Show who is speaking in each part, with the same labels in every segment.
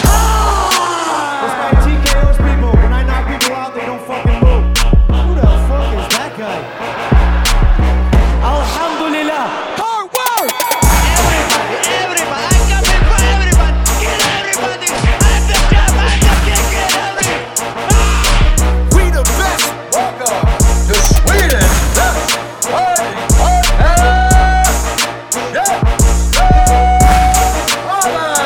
Speaker 1: time!
Speaker 2: Like TKO's people, when I knock people out, they don't fucking move. Who the fuck is that guy?
Speaker 1: Alhamdulillah. Hard work!
Speaker 3: We the best. Welcome. The Sweden. Best. Party. Party. Yeah. Holla!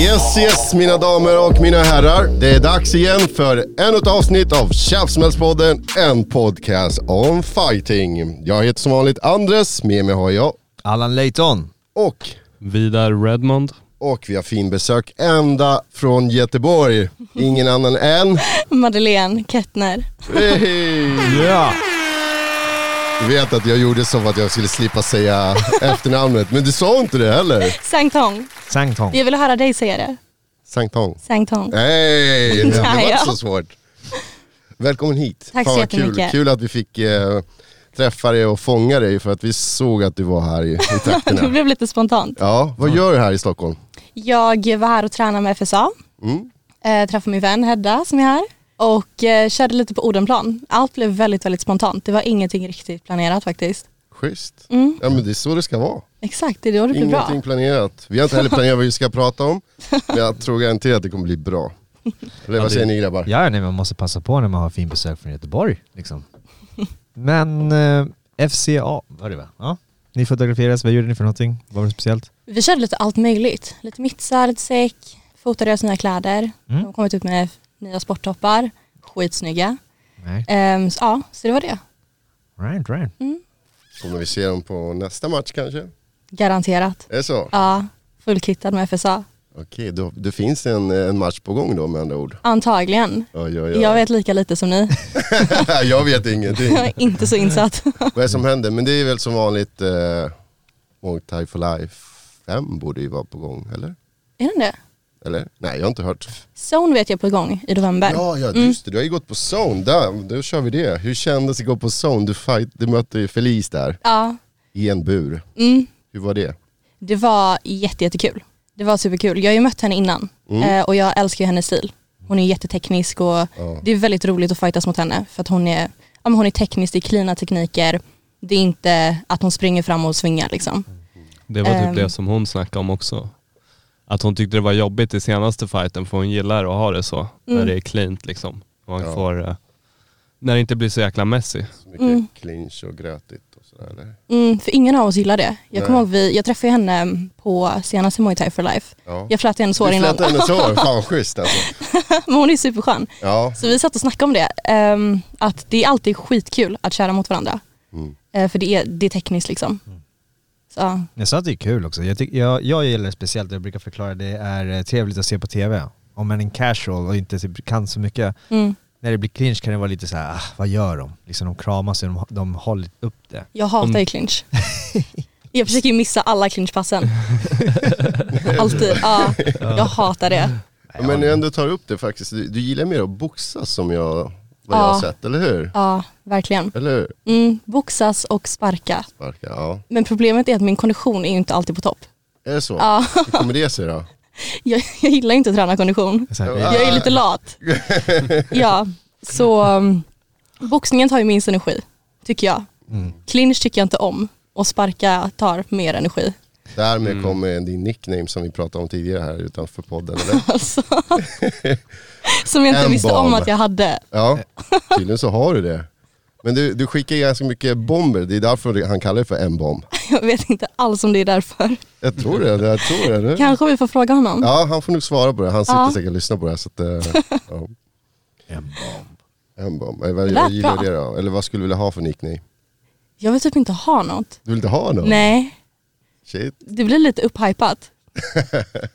Speaker 4: Yes, yes, mina damer och mina herrar. Det är dags igen för ännu ett avsnitt av Käftsmällspodden, en podcast om fighting. Jag heter som vanligt Andres, med mig har jag
Speaker 5: Allan Leighton.
Speaker 4: och,
Speaker 6: Vidar Redmond.
Speaker 4: och vi har fin besök ända från Göteborg. Ingen annan än...
Speaker 7: Madeleine Kettner.
Speaker 4: Hey!
Speaker 5: Ja.
Speaker 4: Du vet att jag gjorde så för att jag skulle slippa säga efternamnet, men du sa inte det heller.
Speaker 7: Sangtong.
Speaker 5: Sangtong.
Speaker 7: Jag vill höra dig säga det.
Speaker 4: Sangtong.
Speaker 7: Sangtong.
Speaker 4: Nej, det var
Speaker 7: Ja,
Speaker 4: inte
Speaker 7: ja.
Speaker 4: så svårt. Välkommen hit.
Speaker 7: Tack så
Speaker 4: vad kul.
Speaker 7: jättemycket.
Speaker 4: kul att vi fick eh, träffa dig och fånga dig för att vi såg att du var här i, i
Speaker 7: Det
Speaker 4: trakterna.
Speaker 7: blev lite spontant.
Speaker 4: Ja, vad gör du här i Stockholm?
Speaker 7: Jag var här och tränade med FSA.
Speaker 4: Mm.
Speaker 7: Eh, träffade min vän Hedda som är här. Och eh, körde lite på Odenplan. Allt blev väldigt, väldigt spontant. Det var ingenting riktigt planerat faktiskt.
Speaker 4: Schysst. Ja men det är så det ska vara.
Speaker 7: Exakt, Mm. det är då det blir bra.
Speaker 4: Ingenting planerat. Vi har inte heller planerat vad vi ska prata om, men jag tror garanterat att det kommer bli bra. Eller vad säger ni grabbar?
Speaker 5: Ja, nej, man måste passa på när man har fin besök från Göteborg. Liksom. Men eh, FCA var det va? Ja. Ni fotograferades, vad gjorde ni för någonting? Var det speciellt?
Speaker 7: Vi körde lite allt möjligt. Lite mittsar, lite säck, fotade deras nya kläder.
Speaker 5: Mm.
Speaker 7: De har kommit ut med nya sporttoppar. Skitsnygga.
Speaker 5: Nej.
Speaker 7: Ehm, så, ja, så det var det.
Speaker 5: Right, right.
Speaker 4: Kommer vi se dem på nästa match kanske?
Speaker 7: Garanterat.
Speaker 4: Är det så?
Speaker 7: Ja, fullkittad med FSA.
Speaker 4: Okej, då, det finns en, en match på gång då med andra ord.
Speaker 7: Antagligen.
Speaker 4: Oj, oj, oj.
Speaker 7: Jag vet lika lite som ni.
Speaker 4: jag vet ingenting.
Speaker 7: Jag är inte så insatt.
Speaker 4: Vad är det som händer? Men det är väl som vanligt eh, Muay Thai for Life 5 borde ju vara på gång, eller?
Speaker 7: Är den det?
Speaker 4: Eller? Nej, jag har inte hört. Mm.
Speaker 7: Zone vet jag på gång i november.
Speaker 4: Ja, ja just det. Du har ju gått på Zone. Där, då kör vi det. Hur kändes det att gå på Zone? Du, fight, du mötte ju Felice där
Speaker 7: Ja,
Speaker 4: i en bur.
Speaker 7: Mm.
Speaker 4: Hur var det?
Speaker 7: det var jätte, jättekul. Det var superkul. Jag har ju mött henne innan
Speaker 4: Mm.
Speaker 7: eh, och jag älskar ju hennes stil. Hon är jätteteknisk och det är väldigt roligt att fightas mot henne för att hon är, ja, men hon är teknisk, det är klina tekniker. Det är inte att hon springer fram och svingar liksom.
Speaker 6: Det var typ
Speaker 7: Ehm.
Speaker 6: det som hon snackade om också. Att hon tyckte det var jobbigt i senaste fighten för hon gillar att ha det så. När det är cleant liksom. Och man
Speaker 4: Ja.
Speaker 6: får, eh, när det inte blir så jäkla messy.
Speaker 4: Så mycket clinch och grötigt och sådär eller?
Speaker 7: Mm, för ingen av oss gillar det. Jag kommer
Speaker 4: Nej.
Speaker 7: ihåg, vi, jag träffade henne på senaste Muay Thai for Life.
Speaker 4: Ja.
Speaker 7: Jag flätade hennes hår
Speaker 4: du
Speaker 7: innan.
Speaker 4: flätade hennes hår, fan schysst alltså.
Speaker 7: Men hon är superskön.
Speaker 4: Ja,
Speaker 7: Så vi satt och snackade om det, ehm, att det är alltid skitkul att köra mot varandra. Eh, för det är, det är tekniskt liksom. Så, ja.
Speaker 5: Jag sa att det är kul också. Jag, tyck, jag, jag gillar det speciellt, jag brukar förklara det är eh, trevligt att se på tv. Om man är en casual och inte typ, kan så mycket.
Speaker 7: mm.
Speaker 5: När det blir clinch kan det vara lite så här, ah, vad gör de? Liksom de kramar sig, de, de håller upp det.
Speaker 7: Jag hatar ju clinch. Jag försöker ju missa alla clinchpassen. Alltid. Ja, jag hatar det.
Speaker 4: men när du ändå tar upp det faktiskt. Du, du gillar mer att boxas som jag, vad jag
Speaker 7: Ja.
Speaker 4: har sett, eller hur?
Speaker 7: Ja, verkligen.
Speaker 4: Eller hur?
Speaker 7: Mm, boxas och sparka.
Speaker 4: Sparka, ja.
Speaker 7: Men problemet är att min kondition är ju inte alltid på topp.
Speaker 4: Är det så?
Speaker 7: Ja.
Speaker 4: Hur kommer det sig då?
Speaker 7: Jag, jag gillar ju inte att träna kondition.
Speaker 5: Så här,
Speaker 4: Ja.
Speaker 7: Jag är lite lat. Ja, så um, boxningen tar ju minst energi, tycker jag.
Speaker 4: Mm.
Speaker 7: Clinch tycker jag inte om och sparka tar mer energi.
Speaker 4: Därmed kommer din nickname som vi pratade om tidigare här utanför podden. Eller?
Speaker 7: Alltså. Som jag inte
Speaker 4: En
Speaker 7: visste om
Speaker 4: bomb.
Speaker 7: att jag hade.
Speaker 4: Ja, tydligen så har du det. Men du, du skickar ju ganska mycket bomber, det är därför han kallar det för en bomb.
Speaker 7: Jag vet inte alls om det är därför.
Speaker 4: Jag tror det, jag tror det. Nu.
Speaker 7: Kanske vi får fråga honom.
Speaker 4: Ja, han får nog svara på det. Han sitter
Speaker 7: Ja.
Speaker 4: säkert och lyssnar på det här. Så att, eh, ja. En bomb. Eh, Vad,
Speaker 7: Det
Speaker 4: vad
Speaker 7: lät
Speaker 4: gillar
Speaker 7: bra.
Speaker 4: det då? Eller vad skulle du vilja ha för nickname?
Speaker 7: Jag vill typ inte ha något.
Speaker 4: Du vill inte ha någon?
Speaker 7: Nej,
Speaker 4: Shit.
Speaker 7: det blir lite upphypat.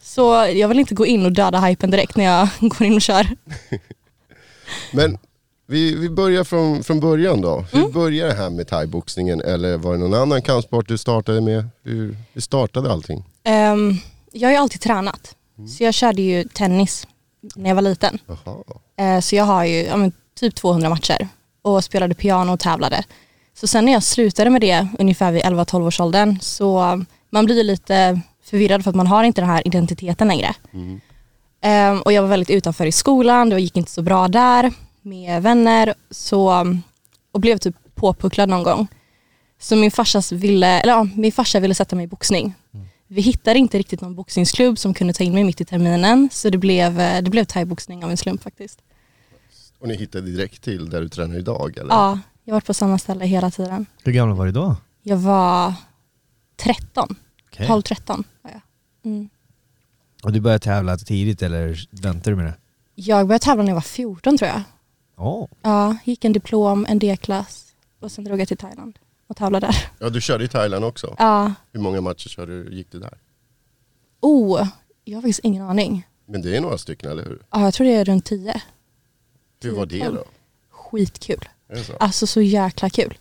Speaker 7: Så jag vill inte gå in och döda hypen direkt när jag går in och kör.
Speaker 4: Men vi, vi börjar från, från början då. Hur
Speaker 7: Mm.
Speaker 4: började det här med thaiboxningen? Eller var det någon annan kampsport du startade med? Hur, hur startade allting? Mm.
Speaker 7: Ehm, jag har ju alltid tränat. Så jag körde ju tennis när jag var liten.
Speaker 4: Jaha.
Speaker 7: Eh, Så jag har ju ja, men, typ 200 matcher och spelade piano och tävlade. Så sen när jag slutade med det ungefär vid 11-12 års åldern så man blir ju lite förvirrad för att man har inte den här identiteten längre. Eh, Och jag var väldigt utanför i skolan, det gick inte så bra där med vänner så, och blev typ påpucklad någon gång. Så min, farsas ville, eller ja, min farsa ville sätta mig i boxning. Vi hittade inte riktigt någon boxningsklubb som kunde ta in mig mitt i terminen så det blev, eh, det blev thaiboxning av en slump faktiskt.
Speaker 4: Och ni hittade direkt till där du tränar idag eller?
Speaker 7: Ja, jag har varit på samma ställe hela tiden.
Speaker 5: Hur gammal var du då?
Speaker 7: Jag var 13,
Speaker 5: Okej.
Speaker 7: 12-13 var jag. Mm.
Speaker 5: Och du började tävla tidigt eller väntade du med det?
Speaker 7: Jag började tävla när jag var 14 tror jag.
Speaker 5: Ja.
Speaker 7: Ja, gick en diplom, en D-klass och sen drog jag till Thailand och tävlade där.
Speaker 4: Ja, du körde i Thailand också.
Speaker 7: Ja,
Speaker 4: Hur många matcher körde, du- gick det där?
Speaker 7: oh, jag har faktiskt ingen aning.
Speaker 4: Men det är några stycken, eller hur?
Speaker 7: Ja, jag tror det är runt 10.
Speaker 4: Hur var det då?
Speaker 7: Skitkul.
Speaker 4: Är det så?
Speaker 7: Alltså så jäkla kul.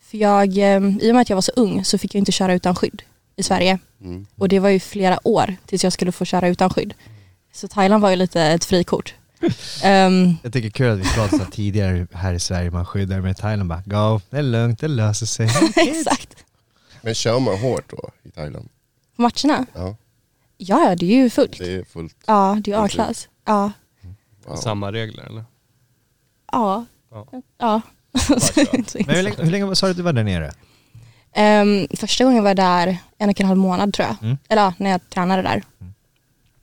Speaker 7: För jag, eh, I och med att jag var så ung så fick jag inte köra utan skydd i Sverige.
Speaker 4: Mm.
Speaker 7: Och det var ju flera år tills jag skulle få köra utan skydd. Så Thailand var ju lite ett frikort. Ehm,
Speaker 5: Jag tycker kul att vi pratade tidigare här i Sverige, man skyddar med Thailand bara, go, det är lugnt, det löser sig.
Speaker 7: exakt.
Speaker 4: Men kör man hårt då i Thailand?
Speaker 7: På matcherna?
Speaker 4: Ja,
Speaker 7: Ja, ja, det är ju fullt.
Speaker 4: det är fullt.
Speaker 7: Ja, det är ju A-klass. Ja,
Speaker 4: Wow.
Speaker 6: Samma regler eller?
Speaker 7: ja,
Speaker 6: Ja.
Speaker 7: ja. Så det är inte så
Speaker 5: Men hur
Speaker 7: intressant.
Speaker 5: länge, hur länge sa du att du var där nere?
Speaker 7: Ehm, första gången var jag där en och en halv månad tror jag.
Speaker 5: Mm.
Speaker 7: Eller ja, när jag tränade där.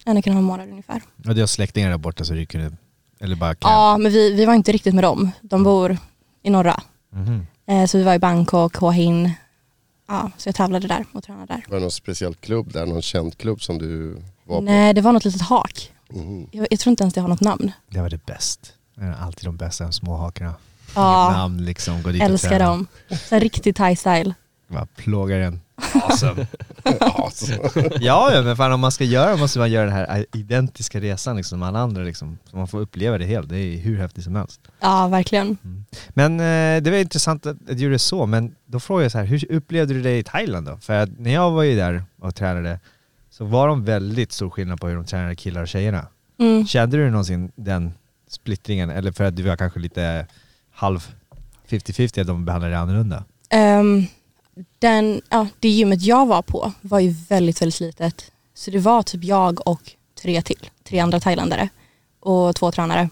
Speaker 7: En och en halv månad ungefär.
Speaker 5: Ja, du har släktingar där borta så du kunde, eller bara camp.
Speaker 7: Ja, men vi, vi var inte riktigt med dem. De bor i norra.
Speaker 5: Mhm.
Speaker 7: Eh, Så vi var i Bangkok, Hua Hin. Ja, så jag tävlade där och tränade där.
Speaker 4: Var det någon speciell klubb där? Någon känd klubb som du var
Speaker 7: Nej, det var något litet hak.
Speaker 4: på? Mhm.
Speaker 7: Jag, jag tror inte ens det har något namn.
Speaker 5: Det var det bäst. Det är alltid de bästa, de små hakorna. Inget
Speaker 7: Ja,
Speaker 5: namn liksom, gå dit och
Speaker 7: älskar
Speaker 5: träna.
Speaker 7: dem. Så här riktig thai-style.
Speaker 5: Bara plågar en. Awesome.
Speaker 4: Alltså,
Speaker 5: ja, ja, men fan om man ska göra måste man göra den här identiska resan liksom, som alla andra liksom. Så man får uppleva det helt, det är hur häftigt som helst.
Speaker 7: Ja, verkligen.
Speaker 5: Men eh, det var intressant att, att du gjorde så, men då frågar jag så här, hur upplevde du det i Thailand då? För att när jag var ju där och tränade så var de väldigt stor skillnad på hur de tränade killar och tjejerna.
Speaker 7: Mm.
Speaker 5: Kände du någonsin den splittringen? Eller för att du var kanske lite halv 50-50 att de behandlade dig annorlunda?
Speaker 7: Ehm, den, ja, det gymmet jag var på var ju väldigt, väldigt litet. Så det var typ jag och tre till. Tre andra thailändare och två tränare.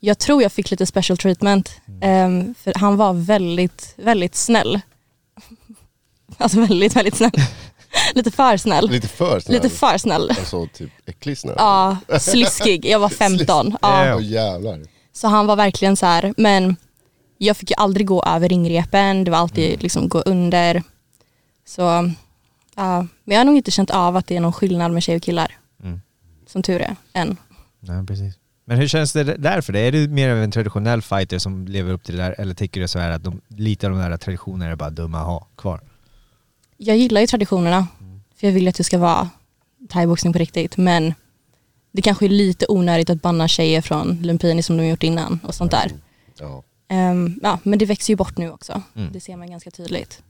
Speaker 7: Jag tror jag fick lite special treatment.
Speaker 4: Mm.
Speaker 7: ehm, för han var väldigt, väldigt snäll. Alltså väldigt, väldigt snäll. lite för snäll.
Speaker 4: lite för snäll.
Speaker 7: Lite för snäll.
Speaker 4: Alltså typ äcklig snäll.
Speaker 7: Ja, sliskig. Jag var 15. Ja.
Speaker 4: Åh, jävlar.
Speaker 7: Så han var verkligen så här, men jag fick ju aldrig gå över ringrepen, det var alltid
Speaker 5: Mm.
Speaker 7: liksom gå under. Så, ja. Men jag har nog inte känt av att det är någon skillnad med tjejer och killar.
Speaker 5: Mm.
Speaker 7: Som tur är, än.
Speaker 5: Nej, precis. Men hur känns det där för dig? Är du mer av en traditionell fighter som lever upp till det där? Eller tycker du så här att de, lite av de där traditionerna är bara dumma att ha kvar?
Speaker 7: Jag gillar ju traditionerna, för jag vill att det ska vara thaiboxning på riktigt, men det kanske är lite onödigt att banna tjejer från Lumpini som de gjort innan och sånt där.
Speaker 4: Ja.
Speaker 7: Ehm, ja, men det växer ju bort nu också,
Speaker 5: Mm.
Speaker 7: det ser man ganska tydligt.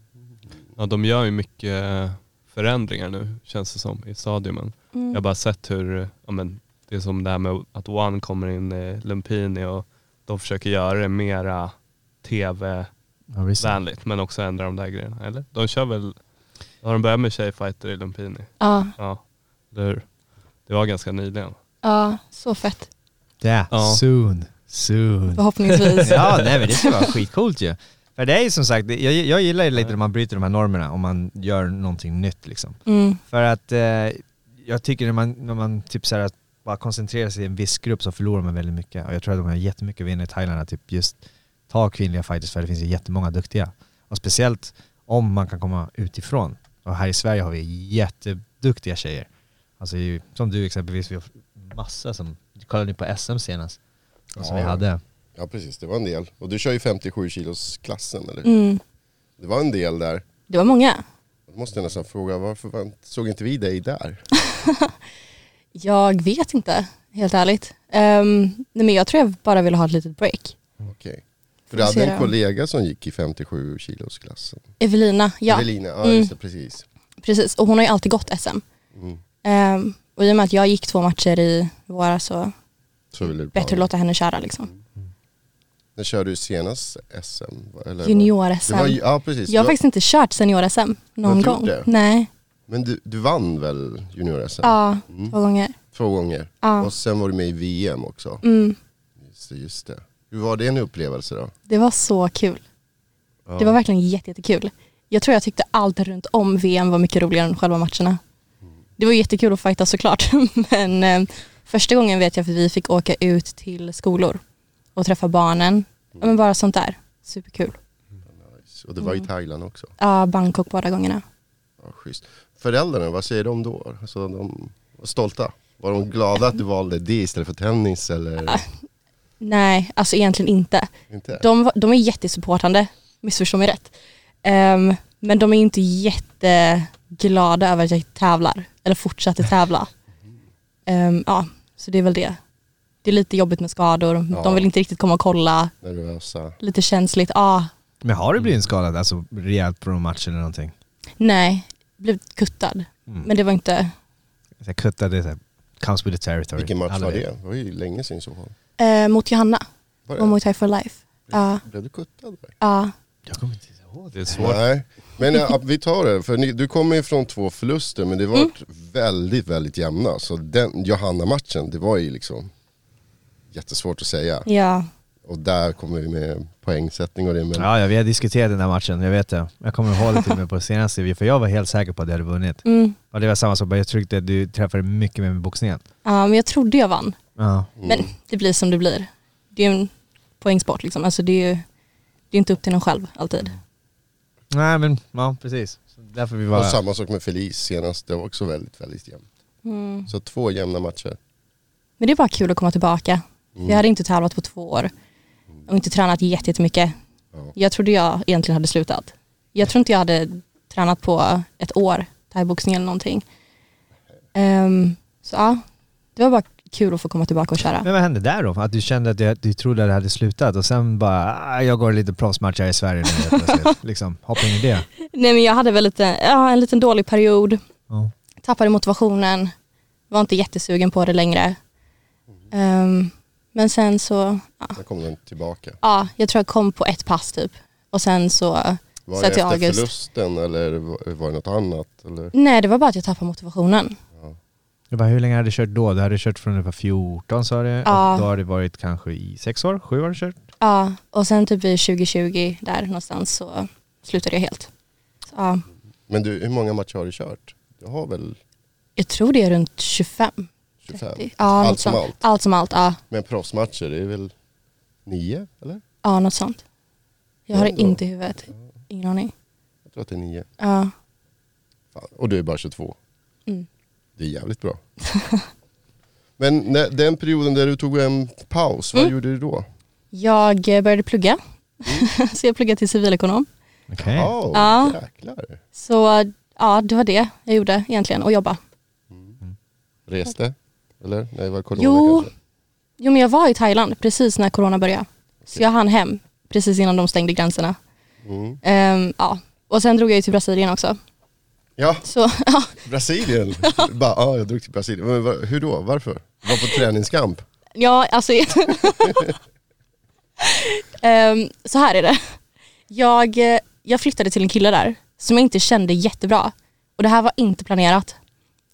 Speaker 6: Ja, de gör ju mycket eh, förändringar nu känns det som i stadiumen. Jag har bara sett hur, eh, ja, men, det är som det här med att One kommer in i Lumpini och de försöker göra det mera tv-vänligt
Speaker 5: Ja, visst.
Speaker 6: men också ändra de där grejerna. Eller? De kör väl, har de börjat med tjejfighter i Lumpini?
Speaker 7: Ja,
Speaker 6: Ja, eller hur? Det var ganska nyligen.
Speaker 7: ja så fett.
Speaker 5: Yeah,
Speaker 6: Ja.
Speaker 5: soon, soon.
Speaker 7: Förhoppningsvis.
Speaker 5: Ja, nej men det skulle vara skitcoolt ju. För det är ju som sagt, det- jag, jag gillar ju lite när man bryter de här normerna, om man gör någonting nytt liksom.
Speaker 7: Mm.
Speaker 5: För att eh, jag tycker när man, när man typ så här, att bara koncentrerar sig i en viss grupp så förlorar man väldigt mycket. Och jag tror att de har jättemycket att vinna i Thailand, att typ just ta kvinnliga fighters för det finns ju jättemånga duktiga. Och speciellt om man kan komma utifrån. Och här i Sverige har vi jätteduktiga tjejer. Alltså ju- som du exempelvis, vi har massa som, kollade ni på SM senast? Som vi
Speaker 4: Ja.
Speaker 5: hade.
Speaker 4: ja, precis. Det var en del. Och du kör ju 57 kilos klassen, eller hur?
Speaker 7: Mm.
Speaker 4: Det var en del där.
Speaker 7: Det var många.
Speaker 4: Då måste jag nästan fråga, varför var, såg inte vi dig där?
Speaker 7: Jag vet inte, helt ärligt. Ehm, nej men jag tror jag bara ville ha ett litet break.
Speaker 4: Okej. För
Speaker 7: Får
Speaker 4: du hade
Speaker 7: se
Speaker 4: en
Speaker 7: då.
Speaker 4: kollega som gick i 57 kilos klassen.
Speaker 7: Evelina, ja.
Speaker 4: Evelina, ja
Speaker 7: Mm.
Speaker 4: just det, precis.
Speaker 7: Precis, och hon har ju alltid gått SM.
Speaker 4: Mm.
Speaker 7: Ehm, och i och med att jag gick två matcher i våras så
Speaker 4: Så vill du
Speaker 7: Bättre
Speaker 4: bara-
Speaker 7: låta henne köra liksom.
Speaker 4: När körde du senast SM? va? Eller
Speaker 7: Junior-SM.
Speaker 4: Det var, ja precis.
Speaker 7: Jag har
Speaker 4: Du-
Speaker 7: faktiskt inte kört senior-SM någon
Speaker 4: Varför
Speaker 7: gång.
Speaker 4: inte?
Speaker 7: Nej,
Speaker 4: Men du, du vann väl junior-SM?
Speaker 7: ja,
Speaker 4: Mm.
Speaker 7: två gånger.
Speaker 4: Två gånger.
Speaker 7: Ja.
Speaker 4: Och sen var du med i VM också.
Speaker 7: Mm.
Speaker 4: Just det, just det. Hur var det en upplevelse då?
Speaker 7: Det var så kul. Det var verkligen jätte- jättekul. Jag tror jag tyckte allt runt om VM var mycket roligare än själva matcherna. Det var jättekul att fighta såklart. Men eh, första gången vet jag för vi fick åka ut till skolor och träffa barnen. Ja, men bara sånt där. Superkul.
Speaker 4: Och det var
Speaker 7: Mm.
Speaker 4: i Thailand också.
Speaker 7: Ja, Bangkok båda gångerna.
Speaker 4: Ja, schysst. Föräldrarna, vad säger de då? Alltså, de var stolta? Var de glada att du valde det istället för tennis eller
Speaker 7: Nej, alltså egentligen inte.
Speaker 4: inte?
Speaker 7: De, var- de är jättesupportande, missförstå mig rätt. Ehm, men de är inte jätteglada över att jag tävlar, eller fortsätter tävla. Ehm, ja, så det är väl det. Det är lite jobbigt med skador,
Speaker 4: Ja.
Speaker 7: de vill inte riktigt komma och kolla,
Speaker 4: Nervösa?
Speaker 7: lite känsligt. Ja,
Speaker 5: Men har du blivit skadad, alltså rejält på någon match eller någonting?
Speaker 7: nej, blev kuttad. Men det var inte...
Speaker 5: Så Jag kuttade såhär, comes with the territory.
Speaker 4: Vilken match
Speaker 5: Alla
Speaker 4: var
Speaker 5: vet.
Speaker 4: det? Det var ju länge sedan i så fall.
Speaker 7: Eh, mot Johanna,
Speaker 4: Var
Speaker 7: och
Speaker 4: det?
Speaker 7: Muay Thai for life. Ja,
Speaker 4: Blev du kuttad? Där?
Speaker 7: ja,
Speaker 5: Jag kommer inte ihåg.
Speaker 6: Det är svårt.
Speaker 4: Nej, men eh, ja, vi tar det. För ni, du kommer ju från två förluster men det
Speaker 7: Mm.
Speaker 4: var väldigt, väldigt jämna. Så den Johanna-matchen, det var ju liksom jättesvårt att säga.
Speaker 7: ja.
Speaker 4: Och där kommer vi med poängsättning och det. Men
Speaker 5: Ja, ja, vi har diskuterat den här matchen, jag vet det. Jag kommer ihåg det till och med på senaste, för jag var helt säker på att jag hade vunnit.
Speaker 7: Mm.
Speaker 5: Och det var samma sak, bara jag tryckte att du träffade mycket mer med boxningen.
Speaker 7: Ja, men jag trodde jag vann.
Speaker 5: Ja.
Speaker 7: Men det blir som det blir. Det är ju en poängsport liksom. Alltså det är ju det är inte upp till någon själv alltid.
Speaker 5: Nej men, ja precis. Så därför vi
Speaker 4: det var
Speaker 5: var...
Speaker 4: samma sak med Felice senast, det var också väldigt, väldigt jämnt.
Speaker 7: Mm.
Speaker 4: Så två jämna matcher.
Speaker 7: Men det är bara kul att komma tillbaka. För jag hade inte tävlat på två år och inte tränat jätte- jättemycket.
Speaker 4: Ja.
Speaker 7: Jag trodde jag egentligen hade slutat. Jag tror inte jag hade tränat på ett år, thaiboxning eller någonting. Ehm, så ja, det var bara kul att få komma tillbaka och köra.
Speaker 5: Men vad hände där då? Att du kände att du, du trodde att det hade slutat och sen bara, ah, jag går lite proffsmatcher i Sverige nu helt plötsligt. liksom, hoppa in i det.
Speaker 7: Nej men jag hade väl lite, ja, en liten dålig period.
Speaker 5: Ja.
Speaker 7: tappade motivationen, var inte jättesugen på det längre. Ehm, men sen så, ja,
Speaker 4: Där kom den tillbaka.
Speaker 7: ja, jag tror jag kom på ett pass typ. Och sen så,
Speaker 4: Var
Speaker 7: Så
Speaker 4: det
Speaker 7: till
Speaker 4: efter
Speaker 7: August.
Speaker 4: förlusten eller var- var det något annat? Eller?
Speaker 7: nej det var bara att jag tappade motivationen.
Speaker 5: Jag bara, hur länge hade du kört då? Du hade kört från ungefär 14 sa du,
Speaker 7: Ja.
Speaker 5: och då har det varit kanske i sex år, sju har du kört?
Speaker 7: Ja, och sen typ vid 2020 där någonstans så slutade jag helt. Så, ja,
Speaker 4: Men du, hur många matcher har du kört? Du har väl
Speaker 7: jag tror det är runt 25.
Speaker 4: 25?
Speaker 7: Ja,
Speaker 4: allt
Speaker 7: något
Speaker 4: som
Speaker 7: sånt.
Speaker 4: allt.
Speaker 7: Allt som allt, ja.
Speaker 4: Men proffsmatcher, det är väl nio eller?
Speaker 7: ja något sånt. Jag har det
Speaker 4: Ändå.
Speaker 7: inte i huvudet, ingen aning.
Speaker 4: Jag tror att det är nio.
Speaker 7: Ja,
Speaker 4: Fan. Och du är bara 22.
Speaker 7: Mm.
Speaker 4: Det är jävligt bra. Men när, den perioden där du tog en paus, vad
Speaker 7: Mm.
Speaker 4: gjorde du då?
Speaker 7: jag eh, började plugga, så jag pluggade till civilekonom.
Speaker 5: Okej.
Speaker 4: Oh,
Speaker 7: Ja.
Speaker 4: Jäklar.
Speaker 7: Så ja, det var det jag gjorde egentligen och jobba.
Speaker 4: Reste? Eller? Nej, det var corona
Speaker 7: Jo.
Speaker 4: kanske?
Speaker 7: Jo men jag var i Thailand precis när corona började. Så jag hann hem precis innan de stängde gränserna.
Speaker 4: Mm.
Speaker 7: Ehm, ja. Och sen drog jag ju till Brasilien också.
Speaker 4: Ja,
Speaker 7: Så ja,
Speaker 4: Brasilien. Bara, ja, jag drog till Brasilien. Men, va- hur då? Varför? Var på träningskamp?
Speaker 7: ja alltså. Ehm, så här är det. Jag, eh, jag flyttade till en kille där som jag inte kände jättebra. Och det här var inte planerat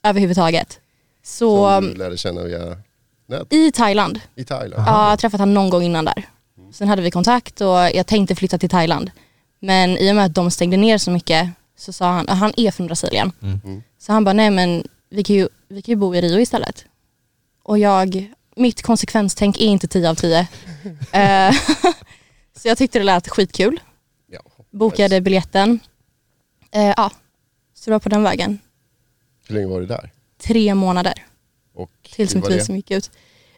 Speaker 7: överhuvudtaget. Så
Speaker 4: Som du lärde känna via nät
Speaker 7: i Thailand
Speaker 4: i Thailand?
Speaker 7: Ja, jag har träffat han någon gång innan där. Sen hade vi kontakt och jag tänkte flytta till Thailand. Men i och med att de stängde ner så mycket så sa han, "Ah, han är från Brasilien. Så han bara, nej men vi kan, ju, vi kan ju bo i Rio istället. Och jag, mitt konsekvenstänk är inte 10 av 10. Eh, så jag tyckte det lät skitkul.
Speaker 4: Ja.
Speaker 7: Bokade biljetten. Eh, Ja, så det var på den vägen.
Speaker 4: Hur länge var du där?
Speaker 7: Tre månader
Speaker 4: Och
Speaker 7: tills
Speaker 4: hur
Speaker 7: mitt
Speaker 4: var det?
Speaker 7: visum gick ut.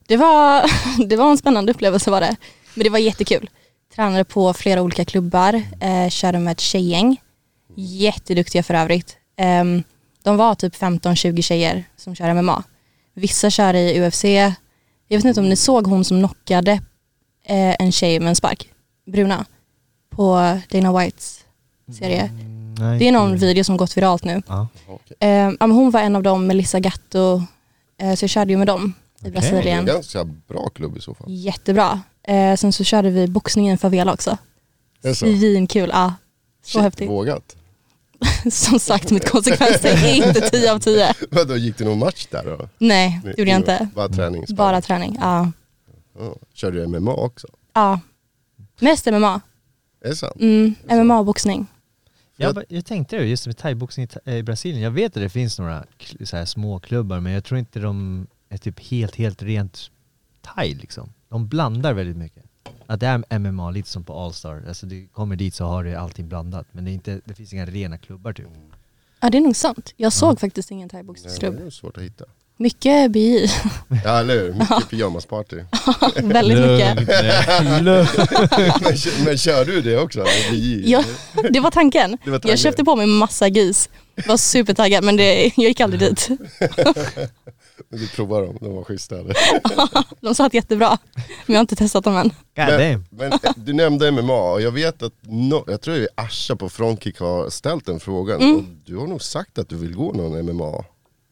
Speaker 7: Det var, det var en spännande upplevelse var det. Men det var jättekul. Tränade på flera olika klubbar, eh, körde med ett tjejgäng. Jätteduktiga för övrigt. Ehm, de var typ 15-20 tjejer som kör MMA. Vissa kör i UFC. Jag vet inte om ni såg hon som knockade eh, en tjej med en spark, bruna, på Dana Whites serie.
Speaker 5: Nej.
Speaker 7: Det är någon video som gått viralt nu.
Speaker 5: Ja.
Speaker 7: Eh, ja, men hon var en av dem, Melissa Gatto, eh, så jag körde ju med dem. i Brasilien.
Speaker 4: Ganska bra klubb i så fall.
Speaker 7: Jättebra. Eh, sen så körde vi boxning i en favela också.
Speaker 4: Är det så?
Speaker 7: Svinkul, ja. Så häftigt.
Speaker 4: vågat.
Speaker 7: Som sagt, mitt konsekvenstänk är inte 10 av 10.
Speaker 4: Vadå, gick det någon match där då?
Speaker 7: Nej, det gjorde jag inte.
Speaker 4: Bara träning?
Speaker 7: Bara träning, ja.
Speaker 4: Ja. Körde du MMA också?
Speaker 7: ja. Mest MMA.
Speaker 4: Är det sant?
Speaker 7: Mm, MMA-boxning.
Speaker 5: Jag, bara- jag tänkte det, just med thaiboxning i Tha- eh, i Brasilien, jag vet att det finns några kl- så här små klubbar men jag tror inte de är typ helt, helt rent thai liksom. De blandar väldigt mycket. Att det är MMA, lite som på Allstar, alltså du kommer dit så har du allting blandat men det, är inte, det finns inga rena klubbar typ.
Speaker 7: Ja, det är nog sant. Jag såg faktiskt ingen thaiboxningsklubb.
Speaker 4: Det är svårt att hitta.
Speaker 7: Mycket BI.
Speaker 4: Ja eller hur, mycket pyjamasparty.
Speaker 7: Väldigt mycket.
Speaker 4: Men, kö- men kör du det också? eller? Vi-
Speaker 7: Ja, det var tanken.
Speaker 4: Det var tanken.
Speaker 7: Jag köpte på mig massa gris. Var supertaggad men det, jag gick aldrig dit.
Speaker 4: Du provar dem, de var schyssta. Eller?
Speaker 7: De sa att jättebra, men jag har inte testat dem än.
Speaker 5: God
Speaker 4: Men,
Speaker 5: damn.
Speaker 4: men eh, du nämnde MMA och jag vet att, no, jag tror att Asha på Frontkick har ställt den frågan.
Speaker 7: Mm.
Speaker 4: Och du har nog sagt att du vill gå någon MMA.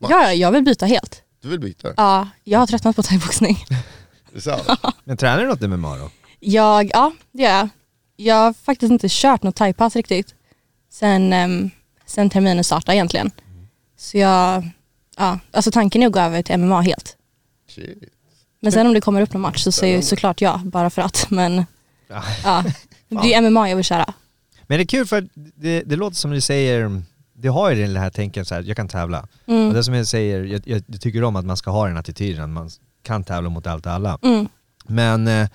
Speaker 7: Ja, jag vill byta helt.
Speaker 4: Du vill byta?
Speaker 7: Ja, jag har tröttnat på thaiboxning.
Speaker 4: Det är sant?
Speaker 5: Men tränar du något MMA då?
Speaker 7: Jag, ja det gör jag. Jag har faktiskt inte kört något thaipass riktigt sen, ehm, sen terminen startade egentligen. Så jag, ja, alltså tanken är att gå över till MMA helt.
Speaker 4: Shit.
Speaker 7: Men sen om det kommer upp någon match så säger jag såklart ja, bara för att. Men
Speaker 5: Ja.
Speaker 7: ja, det är MMA jag vill köra.
Speaker 5: Men det är kul för att det, det låter som du säger, du har ju det här tänket så här, jag kan tävla.
Speaker 7: Mm.
Speaker 5: Och det som jag säger, jag, jag, jag tycker om att man ska ha den attityden, att man kan tävla mot allt och alla.
Speaker 7: Mm.
Speaker 5: Men eh,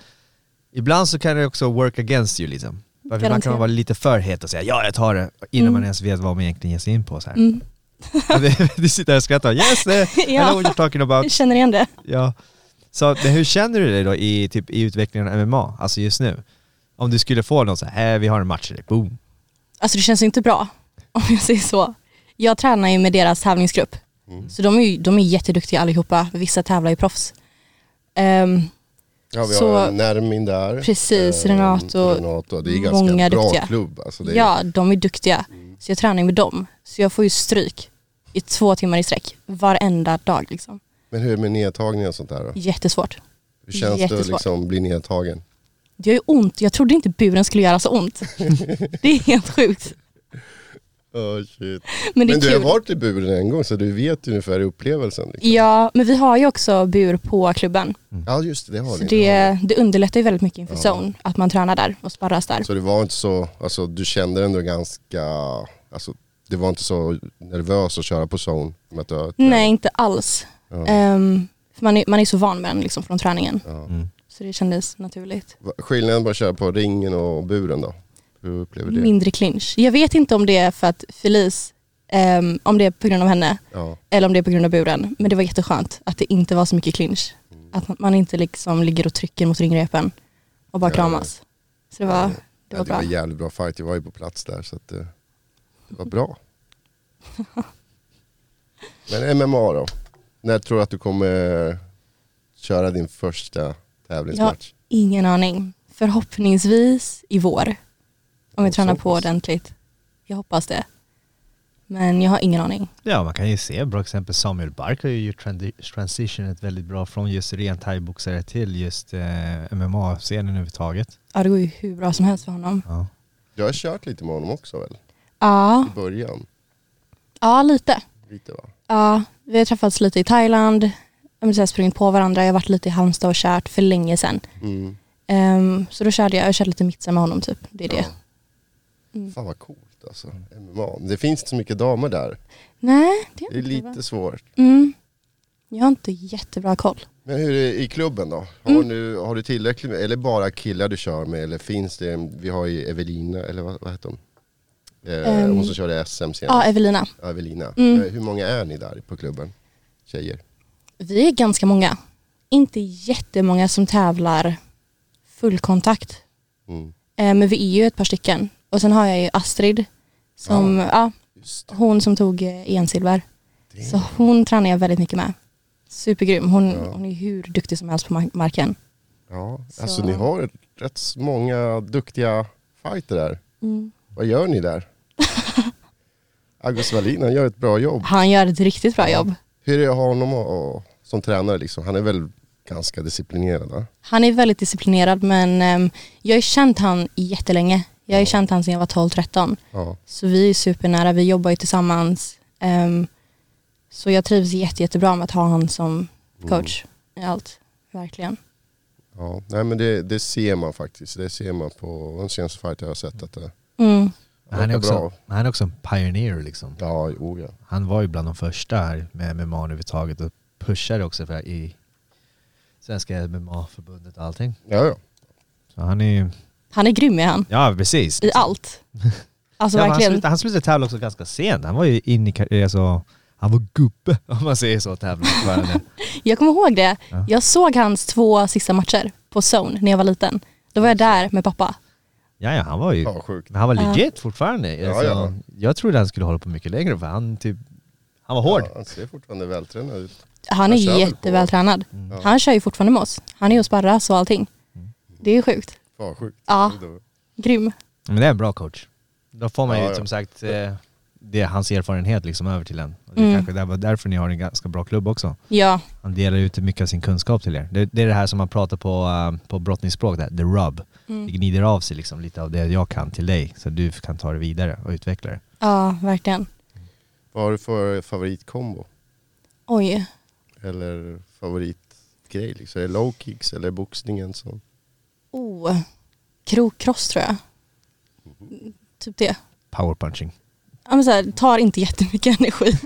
Speaker 5: ibland så kan det också work against you liksom. Varför man
Speaker 7: Garanterat.
Speaker 5: kan vara lite för het och säga ja jag tar det innan man ens vet vad man egentligen ger sig in på. Så här.
Speaker 7: Mm.
Speaker 5: du sitter här och skrattar, yes, eh, I
Speaker 7: Ja.
Speaker 5: know what you're talking
Speaker 7: Jag
Speaker 5: about.
Speaker 7: känner igen det.
Speaker 5: Ja. Så, men hur känner du dig då i, typ, i utvecklingen av MMA, alltså just nu? Om du skulle få någon så här, "Eh, vi har en match till dig, boom.
Speaker 7: Alltså det känns ju inte bra, om jag säger så. Jag tränar ju med deras tävlingsgrupp.
Speaker 4: Mm.
Speaker 7: Så de är, ju, de är jätteduktiga allihopa, vissa tävlar ju proffs. Ehm,
Speaker 4: Ja, vi
Speaker 7: Så-
Speaker 4: har Nermin där.
Speaker 7: Precis,
Speaker 4: Eh,
Speaker 7: Renato.
Speaker 4: Renato. Det är ganska
Speaker 7: Många
Speaker 4: bra
Speaker 7: duktiga.
Speaker 4: klubb. Alltså det är, Mm.
Speaker 7: Ja, de är duktiga. Så jag tränar ju med dem. Så jag får ju stryk i två timmar i sträck, varenda dag. Liksom.
Speaker 4: Men hur är det med nedtagningar och sånt där då?
Speaker 7: Jättesvårt.
Speaker 4: Hur känns det att
Speaker 7: jättesvårt.
Speaker 4: liksom bli nedtagen?
Speaker 7: Det gör ju ont. Jag trodde inte buren skulle göra så ont. det är helt sjukt.
Speaker 4: Oh, shit.
Speaker 7: Men det är
Speaker 4: Men du har
Speaker 7: kul.
Speaker 4: varit i buren en gång så du vet ju ungefär upplevelsen. Liksom.
Speaker 7: Ja, men vi har ju också bur på klubben.
Speaker 4: Ja just det, det har
Speaker 7: Mm. Så
Speaker 4: ni. Det har
Speaker 7: det, det underlättar ju väldigt mycket inför zone, att man tränar där och sparras där.
Speaker 4: ni. Så det var inte så, alltså du kände ändå ganska, alltså det var inte så nervös att köra på zone? Med att du har-
Speaker 7: Nej, inte alls. Ehm, för man, är, man är så van med den liksom, från träningen. Så det kändes naturligt.
Speaker 4: Va- Skillnaden på att köra på ringen och buren då? Hur upplever du det?
Speaker 7: mindre clinch. Jag vet inte om det är för att Felice, ehm, om det är på grund av henne
Speaker 4: Ja.
Speaker 7: eller om det är på grund av buren. Men det var jätteskönt att det inte var så mycket clinch. Att man inte liksom ligger och trycker mot ringrepen och bara
Speaker 4: Ja.
Speaker 7: kramas. Så det var, det
Speaker 4: Ja,
Speaker 7: var
Speaker 4: det var
Speaker 7: bra.
Speaker 4: en jävligt bra fight, jag var ju på plats där så att eh, det var bra. Men MMA då? När tror du att du kommer eh, köra din första
Speaker 7: Jag har
Speaker 4: tävlingsmatch?
Speaker 7: ingen aning. Förhoppningsvis i vår. Om vi
Speaker 4: Och så
Speaker 7: tränar på
Speaker 4: pass.
Speaker 7: ordentligt. Jag hoppas det. Men jag har ingen aning.
Speaker 5: Ja, man kan ju se bra exempel. Samuel Bark har ju gjort transi- transitionet väldigt bra från just ren thaiboxare till just eh, MMA-scenen överhuvudtaget.
Speaker 7: Ja, det går ju hur bra som helst för honom.
Speaker 5: Ja.
Speaker 4: Jag har kört lite med honom också väl?
Speaker 7: Ja,
Speaker 4: I början.
Speaker 7: ja lite.
Speaker 4: Lite va?
Speaker 7: Ja, vi har träffats lite i Thailand, Ja, men så här sprungit på varandra, jag har varit lite i Halmstad och kört för länge sedan.
Speaker 4: Mm.
Speaker 7: Ehm, så då körde jag, jag körde lite mitsen med honom typ, det är det. Mm.
Speaker 4: Fan vad coolt alltså. MMA. Men Det finns inte så mycket damer där.
Speaker 7: Nej, det är,
Speaker 4: Det är
Speaker 7: inte
Speaker 4: lite svårt.
Speaker 7: bra. Mm. Jag har inte jättebra koll.
Speaker 4: Men hur är det i klubben då? Har,
Speaker 7: Mm.
Speaker 4: du, har du tillräckligt med, eller bara killar du kör med? Eller finns det, vi har ju Evelina, eller vad, vad heter hon? Eh,
Speaker 7: Ehm,
Speaker 4: hon som körde SM senast.
Speaker 7: Ja, Evelina.
Speaker 4: Ja, Evelina.
Speaker 7: Mm.
Speaker 4: Eh, Hur många är ni där på klubben? Tjejer?
Speaker 7: Vi är ganska många. Inte jättemånga som tävlar fullkontakt.
Speaker 4: Mm.
Speaker 7: Eh, men vi är ju ett par stycken. Och sen har jag ju Astrid, som, ja,
Speaker 4: Just
Speaker 7: hon som tog eh, ensilver.
Speaker 4: det.
Speaker 7: Så hon tränar jag väldigt mycket med. Supergrym. Hon,
Speaker 4: Ja.
Speaker 7: hon är hur duktig som helst på mark- marken.
Speaker 4: Ja,
Speaker 7: Så-
Speaker 4: alltså ni har ett- rätt så många duktiga fighter där.
Speaker 7: Mm.
Speaker 4: Vad gör ni där? August Wallin, han gör ett bra jobb.
Speaker 7: Han gör ett riktigt bra jobb.
Speaker 4: Hur är det att ha honom att, att som tränare liksom? Han är väl ganska disciplinerad va?
Speaker 7: Han är väldigt disciplinerad men ehm, jag har ju känt han jättelänge. Jag har ju känt han sedan jag var 12-13.
Speaker 4: Ja.
Speaker 7: Så vi är supernära, vi jobbar ju tillsammans. Ehm, så jag trivs jätte, jättebra med att ha han som
Speaker 4: Mm.
Speaker 7: coach i allt. Verkligen.
Speaker 4: ja. Nej men det, det ser man faktiskt. Det ser man på de senaste fighter jag har sett att eh, det
Speaker 7: Mm.
Speaker 5: Han är,
Speaker 4: verkar
Speaker 5: också,
Speaker 4: bra.
Speaker 5: han är också en pioneer liksom.
Speaker 4: Ja, jo, ja.
Speaker 5: Han var ju bland de första här med MMA överhuvudtaget och pushade också för, i Svenska MMA-förbundet och allting.
Speaker 4: ja, ja.
Speaker 5: Så han är ju...
Speaker 7: Han är grym är han,
Speaker 5: Ja precis.
Speaker 7: i allt. Alltså
Speaker 5: Ja, men han,
Speaker 7: verkligen.
Speaker 5: slutade, han slutade tävla också ganska sent. Han var ju inne i kar- alltså, han var gubbe om man säger så tävlingsförande.
Speaker 7: Jag kommer ihåg det.
Speaker 5: Ja.
Speaker 7: Jag såg hans två sista matcher på Zone när jag var liten. Då var jag
Speaker 4: Mm.
Speaker 7: där med pappa.
Speaker 5: ja, ja, han var ju...
Speaker 4: ja sjukt.
Speaker 5: Men han var legit fortfarande.
Speaker 4: Ja,
Speaker 5: Alltså,
Speaker 4: ja.
Speaker 5: Jag trodde han skulle hålla på mycket längre för han typ... Han var hård.
Speaker 4: Ja, han ser fortfarande vältränad ut.
Speaker 7: Han
Speaker 4: Jag kör väl
Speaker 7: är
Speaker 4: på- Mm.
Speaker 7: jättevältränad. Han kör ju fortfarande med oss. Han är och sparras och allting. Det är sjukt.
Speaker 4: Fan sjukt.
Speaker 7: Ja. Grym.
Speaker 5: Men det är en bra coach. Då får man
Speaker 4: Ja,
Speaker 5: ju
Speaker 4: ja.
Speaker 5: som sagt eh, det är hans erfarenhet liksom över till en. Och det är
Speaker 7: Mm.
Speaker 5: kanske där var därför ni har en ganska bra klubb också.
Speaker 7: Ja,
Speaker 5: Han delar ut mycket av sin kunskap till er. Det, det är det här som man pratar på, eh, på brottningsspråk, där, the rub. Det gnider av sig liksom lite av det jag kan till dig så du kan ta det vidare och utveckla det.
Speaker 7: ja verkligen.
Speaker 4: Vad har du för favoritkombo?
Speaker 7: Oj.
Speaker 4: Eller favoritgrej liksom? Är det low kicks eller boxningen som...
Speaker 7: Oh. Krokross tror jag. Typ det.
Speaker 5: Powerpunching.
Speaker 7: Ja, men så här, tar inte jättemycket energi.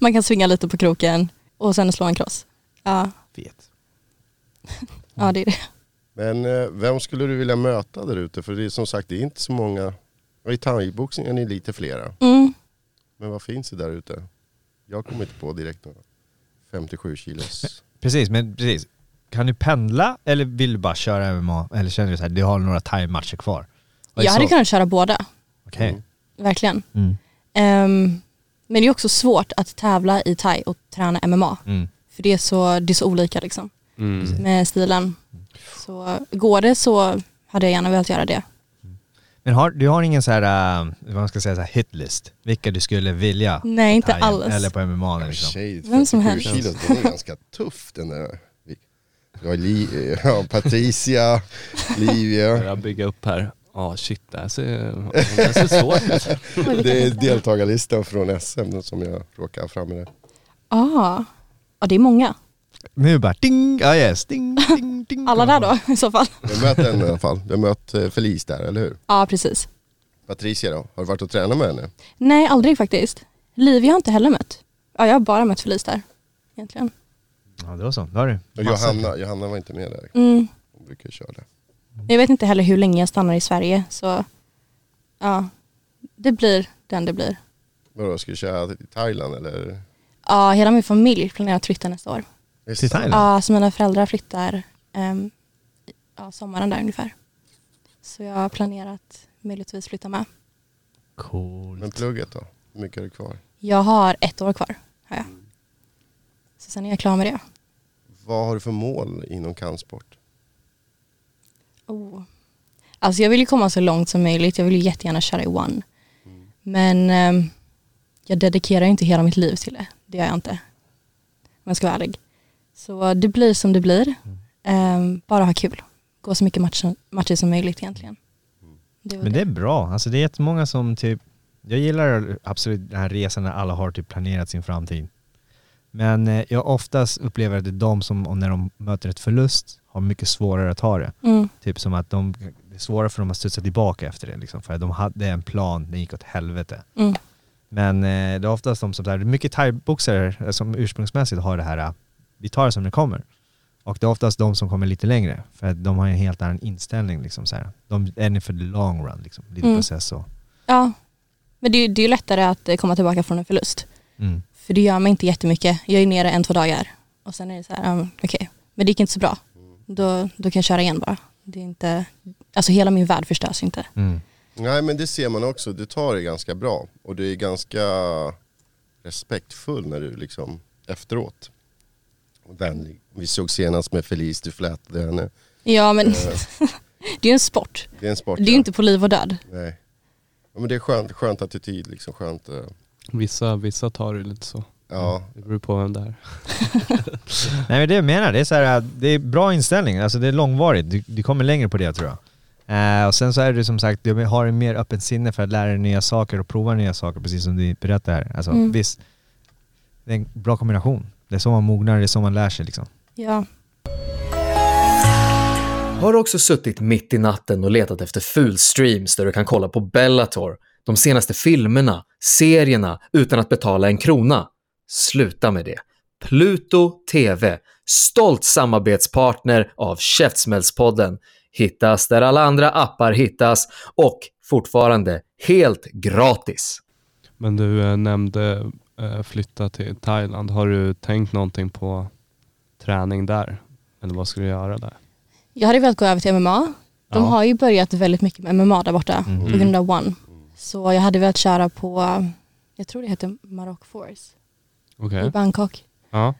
Speaker 7: Man kan svinga lite på kroken och sen slå en kross. Ja,
Speaker 5: Vet.
Speaker 7: ja det är det.
Speaker 4: Men eh, vem skulle du vilja möta där ute? För det är som sagt, det är inte så många. Och I thaiboxning är ni lite flera.
Speaker 7: Mm.
Speaker 4: Men vad finns det där ute? Jag kommer inte på direkt några. 57 kilos.
Speaker 5: Precis, men precis. Kan du pendla eller vill du bara köra MMA? Eller känner du så här, du har några thai-matcher kvar? Och i
Speaker 7: Jag hade
Speaker 5: så-
Speaker 7: kunnat köra båda,
Speaker 5: Okej.
Speaker 4: Mm.
Speaker 7: verkligen.
Speaker 5: Mm.
Speaker 7: Ehm, men det är också svårt att tävla i thai och träna MMA.
Speaker 5: Mm.
Speaker 7: För det är så, det är så olika liksom,
Speaker 6: Mm.
Speaker 7: med stilen. Så går det så hade jag gärna velat göra det.
Speaker 5: Men har, du har ingen så här, äh, vad man ska säga, så här hitlist? Vilka du skulle vilja?
Speaker 7: Nej,
Speaker 5: på
Speaker 7: inte
Speaker 5: Thailand
Speaker 7: alls.
Speaker 5: Eller på MMA liksom.
Speaker 4: Tjej,
Speaker 7: Vem
Speaker 4: 57
Speaker 7: som helst.
Speaker 4: kilos, den är ganska tuff den där. Du har Li- eh, ja, Patricia, Livia.
Speaker 6: Jag bygger upp här. Ja shit, det här ser, det här ser svårt ut.
Speaker 4: Det är deltagarlistan från SM som jag råkar fram med.
Speaker 7: Ah. Ja, det är många.
Speaker 5: Nu bara ding, ja yes, ding, ding, ding.
Speaker 7: Alla där då i så fall.
Speaker 4: Jag möter henne i alla fall. Jag mött eh, Felice där, eller hur?
Speaker 7: Ja, precis.
Speaker 4: Patricia då, har du varit och tränat med henne?
Speaker 7: Nej, aldrig faktiskt. Liv jag har inte heller mött. Ja, jag har bara mött Felice där egentligen.
Speaker 5: Ja det var så, då har du.
Speaker 4: Och
Speaker 5: Massa.
Speaker 4: Johanna, Johanna var inte med där.
Speaker 7: Mm.
Speaker 4: Hon brukar köra det.
Speaker 7: Jag vet inte heller hur länge jag stannar i Sverige så ja, det blir den det blir.
Speaker 4: Vadå, ska du köra till Thailand eller?
Speaker 7: Ja, hela min familj planerar att flytta nästa år.
Speaker 5: Till Thailand?
Speaker 7: Ja, så mina föräldrar flyttar ehm, ja, sommaren där ungefär. Så jag har planerat möjligtvis flytta med.
Speaker 4: Men
Speaker 5: Coolt.
Speaker 4: plugget då? Hur mycket är det kvar?
Speaker 7: Jag har ett år kvar. Har jag. Så sen är jag klar med det.
Speaker 4: Vad har du för mål inom kampsport?
Speaker 7: Oh. Alltså jag vill ju komma så långt som möjligt. Jag vill ju jättegärna köra i one. Men ehm, jag dedikerar ju inte hela mitt liv till det. Det gör jag inte. Om jag ska vara ärlig. Så det blir som det blir. Ehm, bara ha kul. Gå så mycket matcher, matcher som möjligt egentligen. Det var
Speaker 5: Men det är bra, alltså det är jättemånga som typ, jag gillar absolut den här resan när alla har typ planerat sin framtid. Men eh, jag oftast upplever att det är de som, och när de möter ett förlust, har mycket svårare att ta det.
Speaker 7: Mm,
Speaker 5: Typ som att de, det är svårare för dem att studsa tillbaka efter det liksom, för att de hade en plan, den gick åt helvete.
Speaker 7: mm,
Speaker 5: Men eh, det är oftast de som, så här, mycket thaiboxare eh, som ursprungsmässigt har det här, eh, vi tar det som det kommer. Och det är oftast de som kommer lite längre, för att de har en helt annan inställning liksom så här. De är inne för the long run liksom, lite
Speaker 7: Mm.
Speaker 5: process och...
Speaker 7: ja. Men det, är ju- det är ju lättare att eh, komma tillbaka från en förlust.
Speaker 5: Mm.
Speaker 7: För det gör mig inte jättemycket. Jag är nere en, två dagar. Och sen är det så här, um, okej. Men det gick inte så bra. Då, då kan jag köra igen bara. Det är inte, alltså hela min värld förstörs inte.
Speaker 5: Mm.
Speaker 4: Nej men det ser man också, du tar det ganska bra. Och du är ganska respektfull när du liksom efteråt. Och vänlig. Vi såg senast med Felice, du flätade henne.
Speaker 7: Ja men det är ju en sport.
Speaker 4: Det är en sport.
Speaker 7: Det är ju
Speaker 4: ja.
Speaker 7: inte på liv och död.
Speaker 4: Nej. Ja, men det är skönt, skönt attityd liksom, skönt. eh.
Speaker 6: Vissa, vissa tar det lite så.
Speaker 4: Ja.
Speaker 7: Mm.
Speaker 6: Det beror på vem det är.
Speaker 5: Nej men det jag menar, det är, så här, det är bra inställning, alltså det är långvarigt, du, du kommer längre på det tror jag. Eh, och sen så är det som sagt, du har en mer öppen sinne för att lära dig nya saker och prova nya saker, precis som du berättar här. Alltså
Speaker 7: Mm.
Speaker 5: visst, det är en bra kombination. Det är så man mognar, det är så man lär sig liksom.
Speaker 7: Ja.
Speaker 8: Har du också suttit mitt i natten och letat efter fulstreams där du kan kolla på Bellator, de senaste filmerna, serierna utan att betala en krona? Sluta med det. Pluto TV, stolt samarbetspartner av Käftsmällspodden, hittas där alla andra appar hittas och fortfarande helt gratis.
Speaker 6: Men du eh, nämnde eh, flytta till Thailand. Har du tänkt någonting på träning där? Eller vad ska du göra där?
Speaker 7: Jag hade velat gå över till MMA. De
Speaker 6: Ja.
Speaker 7: har ju börjat väldigt mycket med MMA där borta på grund av One. Så jag hade velat köra på, jag tror det heter Maroc Force
Speaker 6: Okej.
Speaker 7: i Bangkok.
Speaker 6: Ja.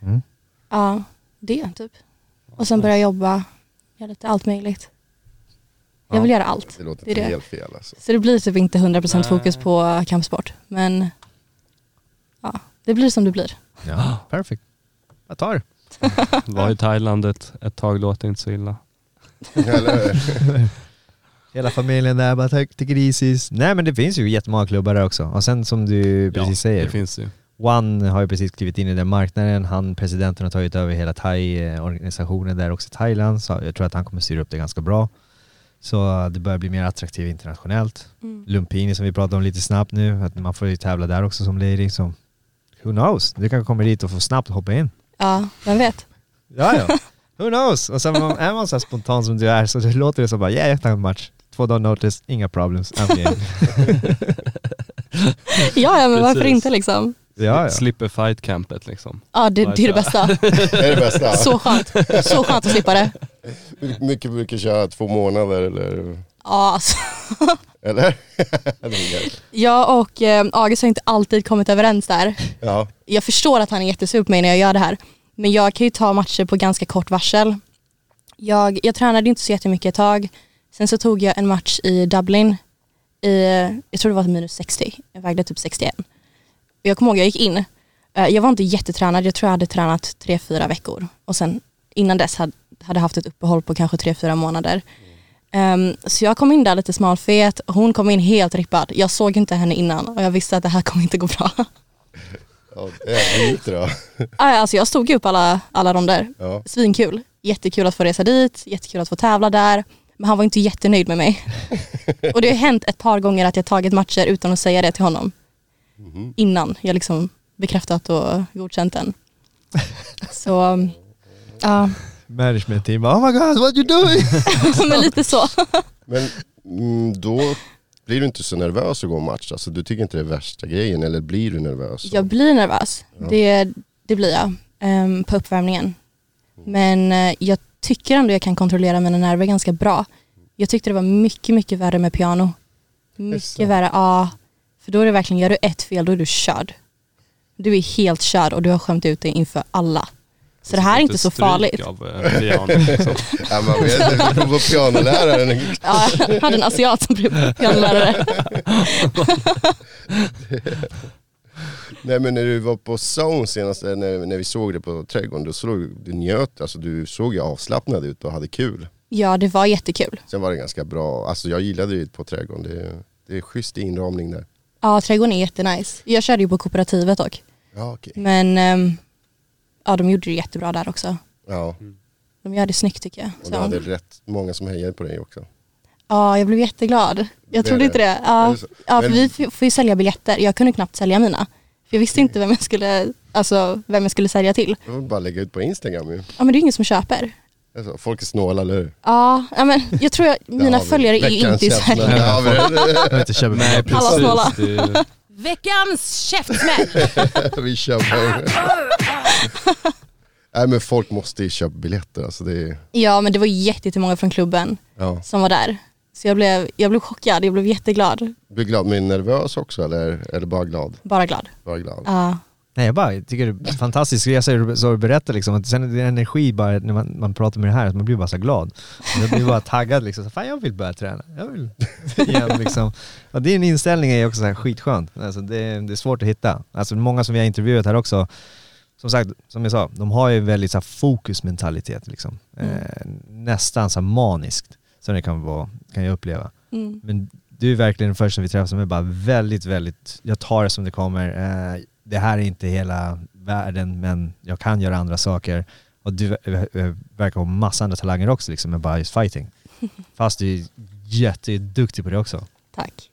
Speaker 7: Ja, det typ. Och sen börja jobba, göra lite allt möjligt. Jag vill göra allt.
Speaker 4: Det låter
Speaker 7: Det är det.
Speaker 4: helt fel alltså.
Speaker 7: Så det blir typ inte 100% fokus på kampsport. Men ja, det blir som det blir.
Speaker 5: Ja, perfekt. Jag tar det.
Speaker 6: Var i Thailand ett, ett tag, låter inte så illa.
Speaker 4: Eller,
Speaker 5: Hela familjen där bara tack till grisis. Nej men det finns ju jättemånga klubbar där också. Och sen som du precis
Speaker 6: Det
Speaker 5: säger,
Speaker 6: finns ju.
Speaker 5: One har ju precis klivit in i den marknaden. Han, presidenten har tagit över hela thai-organisationen där också i Thailand. Så jag tror att han kommer styra upp det ganska bra. Så eh, det börjar bli mer attraktivt internationellt. Lumpini som vi pratade om lite snabbt nu, att man får ju tävla där också som lady. Så who knows, du kanske kommer dit och får snabbt hoppa in.
Speaker 7: Ja, vem vet.
Speaker 5: Ja, ja. Who knows? Och sen man- är man så här spontan som du är så det låter det som bara yeah, jag tar en match. Två dagar notice, inga problems. I'm game.
Speaker 7: Ja, ja men varför
Speaker 6: Precis.
Speaker 7: inte liksom.
Speaker 5: ja, ja.
Speaker 6: Slipper fight campet liksom.
Speaker 7: Ja, det, det är det bästa.
Speaker 4: det är det bästa.
Speaker 7: Så skönt. Så skönt att slippa det.
Speaker 4: Hur mycket brukar köra? Två månader eller?
Speaker 7: Ja, alltså.
Speaker 4: Eller? Eller mer.
Speaker 7: Jag och eh, August har inte alltid kommit överens där.
Speaker 4: ja.
Speaker 7: Jag förstår att han är jättesur på mig när jag gör det här. Men jag kan ju ta matcher på ganska kort varsel. Jag, jag tränade inte så jättemycket ett tag. Sen så tog jag en match i Dublin. I, jag tror det var minus 60. Jag vägde typ 61. Och Jag kommer ihåg jag gick in. Eh, Jag var inte jättetränad. Jag tror jag hade tränat tre fyra veckor. Och sen innan dess hade hade haft ett uppehåll på kanske tre fyra månader. Ehm, så jag kom in där lite smalfet. Hon kom in helt rippad. Jag såg inte henne innan och jag visste att det här kommer inte gå bra.
Speaker 4: ja det är lite då.
Speaker 7: Ah, ja, Alltså jag stod ju upp alla, alla ronder.
Speaker 4: Ja.
Speaker 7: Svinkul. Jättekul att få resa dit, jättekul att få tävla där. Men han var inte jättenöjd med mig. Och det har hänt ett par gånger att jag tagit matcher utan att säga det till honom. Innan jag liksom bekräftat och godkänt den. Så, ja,
Speaker 5: Management team bara, oh my god what you doing?
Speaker 7: men lite så.
Speaker 4: Men mm, då blir du inte så nervös att gå match? Alltså du tycker inte det är värsta grejen eller blir du nervös?
Speaker 7: Jag blir nervös. Det, det blir jag ehm, på uppvärmningen. Men eh, jag tycker ändå jag kan kontrollera mina nerver ganska bra. Jag tyckte det var mycket, mycket värre med piano.
Speaker 4: Jaså?
Speaker 7: Mycket värre, ja. För då är det verkligen, gör du ett fel då är du körd. Du är helt körd och du har skämt ut dig inför alla. Så det här är inte så
Speaker 6: Stryk
Speaker 7: farligt.
Speaker 6: Av, eh, piano, liksom.
Speaker 4: Ja, man vet inte, du var pianoläraren.
Speaker 7: Ja, jag hade en asiat som blev pianolärare.
Speaker 4: Nej men när du var på Zone senast, eh, när, när vi såg det på trädgården, då såg du njöt, alltså du såg ju avslappnad ut och hade kul.
Speaker 7: Ja, det var jättekul.
Speaker 4: Sen var det ganska bra, alltså jag gillade det på trädgården, det, det är schysst inramning där.
Speaker 7: Ja, trädgården är jättenice. Jag körde ju på kooperativet dock.
Speaker 4: Ja okej.
Speaker 7: Men ehm, ja, de gjorde det jättebra där också.
Speaker 4: Ja,
Speaker 7: De gör det snyggt tycker jag.
Speaker 4: och du
Speaker 7: Så.
Speaker 4: hade rätt många som hejade på dig också.
Speaker 7: Ja, jag blev jätteglad. Jag
Speaker 4: Det är
Speaker 7: trodde inte det. Ja,
Speaker 4: Är det så?
Speaker 7: ja för
Speaker 4: Men-
Speaker 7: vi f- får ju sälja biljetter. Jag kunde knappt sälja mina. För jag
Speaker 4: Mm.
Speaker 7: visste inte vem jag skulle, alltså, vem jag skulle sälja till.
Speaker 4: Det var bara att lägga ut på Instagram ju.
Speaker 7: Ja, men det är ingen som köper.
Speaker 4: Alltså, folk är snåla eller hur?
Speaker 7: Ja, ja men jag tror jag, mina
Speaker 4: Där har vi
Speaker 7: följare är ju
Speaker 4: veckans
Speaker 7: inte i
Speaker 4: känsla.
Speaker 7: Sverige.
Speaker 4: Där har vi det.
Speaker 5: Jag inte köpa Nej,
Speaker 7: Alla snåla.
Speaker 6: Det är-
Speaker 9: Veckans käftsmäll!
Speaker 4: Vi kör på det. Nej men folk måste ju köpa biljetter alltså det är,
Speaker 7: Ja, men det var jättemånga från klubben
Speaker 4: ja.
Speaker 7: som var där. Så jag blev, jag blev chockad. Jag blev jätteglad.
Speaker 4: Blir glad men nervös också eller är du bara glad?
Speaker 7: Bara glad.
Speaker 4: Bara glad.
Speaker 7: Ja.
Speaker 5: Nej jag bara jag tycker det är en fantastisk resa du- så du berättar liksom. Att sen är det energi bara när man, man pratar med det här, att man blir bara så glad. Och Jag blir bara taggad liksom. Så, Fan jag vill börja träna. Jag vill igen liksom. Och din inställning är ju också så här skitskönt. Alltså, det, det är svårt att hitta. Alltså många som vi har intervjuat här också, som sagt, som jag sa, de har ju väldigt så här, fokusmentalitet liksom. Eh, nästan så här, maniskt, som det kan vara, kan jag uppleva.
Speaker 7: Mm.
Speaker 5: Men du är verkligen den första vi träffar som är bara väldigt, väldigt, jag tar det som det kommer. Eh, det här är inte hela världen men jag kan göra andra saker. Och du eh, eh, verkar ha massa andra talanger också liksom med bara just fighting. Fast du är jätteduktig på det också.
Speaker 7: Tack.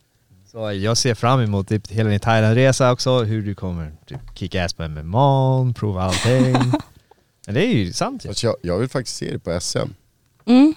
Speaker 5: Så jag ser fram emot typ hela din Thailandresa också, hur du kommer typ kicka ass på MMA, prova allting. Men det är ju sant ju.
Speaker 4: Alltså, jag, jag vill faktiskt se det på SM.
Speaker 7: Mm.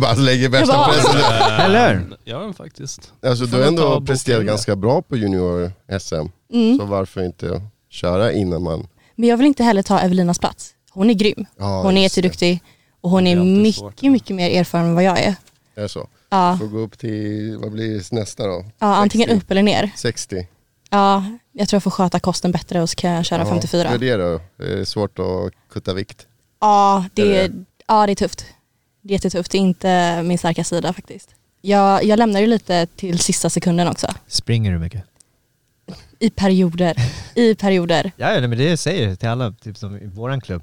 Speaker 4: Bara lägger
Speaker 7: Jag
Speaker 4: värsta
Speaker 7: bara-
Speaker 4: pressen.
Speaker 5: Eller hur?
Speaker 6: Ja men faktiskt.
Speaker 4: Alltså
Speaker 6: Får
Speaker 4: du
Speaker 6: man
Speaker 4: har
Speaker 6: ta
Speaker 4: ändå
Speaker 6: och boka
Speaker 4: presterat
Speaker 6: in det?
Speaker 4: ganska bra på junior-SM.
Speaker 7: Mm.
Speaker 4: Så varför inte köra innan man...
Speaker 7: Men jag vill inte heller ta Evelinas plats. Hon är grym.
Speaker 4: Ja,
Speaker 7: hon är
Speaker 4: just det.
Speaker 7: jätteduktig och hon
Speaker 6: Det
Speaker 7: är
Speaker 6: är alltid
Speaker 7: mycket,
Speaker 6: svårt.
Speaker 7: mycket mer erfaren än vad jag är.
Speaker 4: Är det så?
Speaker 7: Ja,
Speaker 4: Får gå upp till, vad blir det nästa då?
Speaker 7: ja antingen
Speaker 4: 60.
Speaker 7: upp eller ner.
Speaker 4: 60?
Speaker 7: Ja, jag tror jag får sköta kosten bättre och så kan jag köra
Speaker 4: Ja, Hur
Speaker 7: 54.
Speaker 4: är det då? Är det svårt att kutta vikt?
Speaker 7: Ja det,
Speaker 4: Är
Speaker 7: är, ja, det är tufft. Det är jättetufft. Det är inte min starka sida faktiskt. Jag, jag lämnar ju lite till sista sekunden också.
Speaker 5: Springer du mycket?
Speaker 7: I perioder. I perioder.
Speaker 5: Ja, ja, nej, men det säger jag till alla, typ som i våran klubb.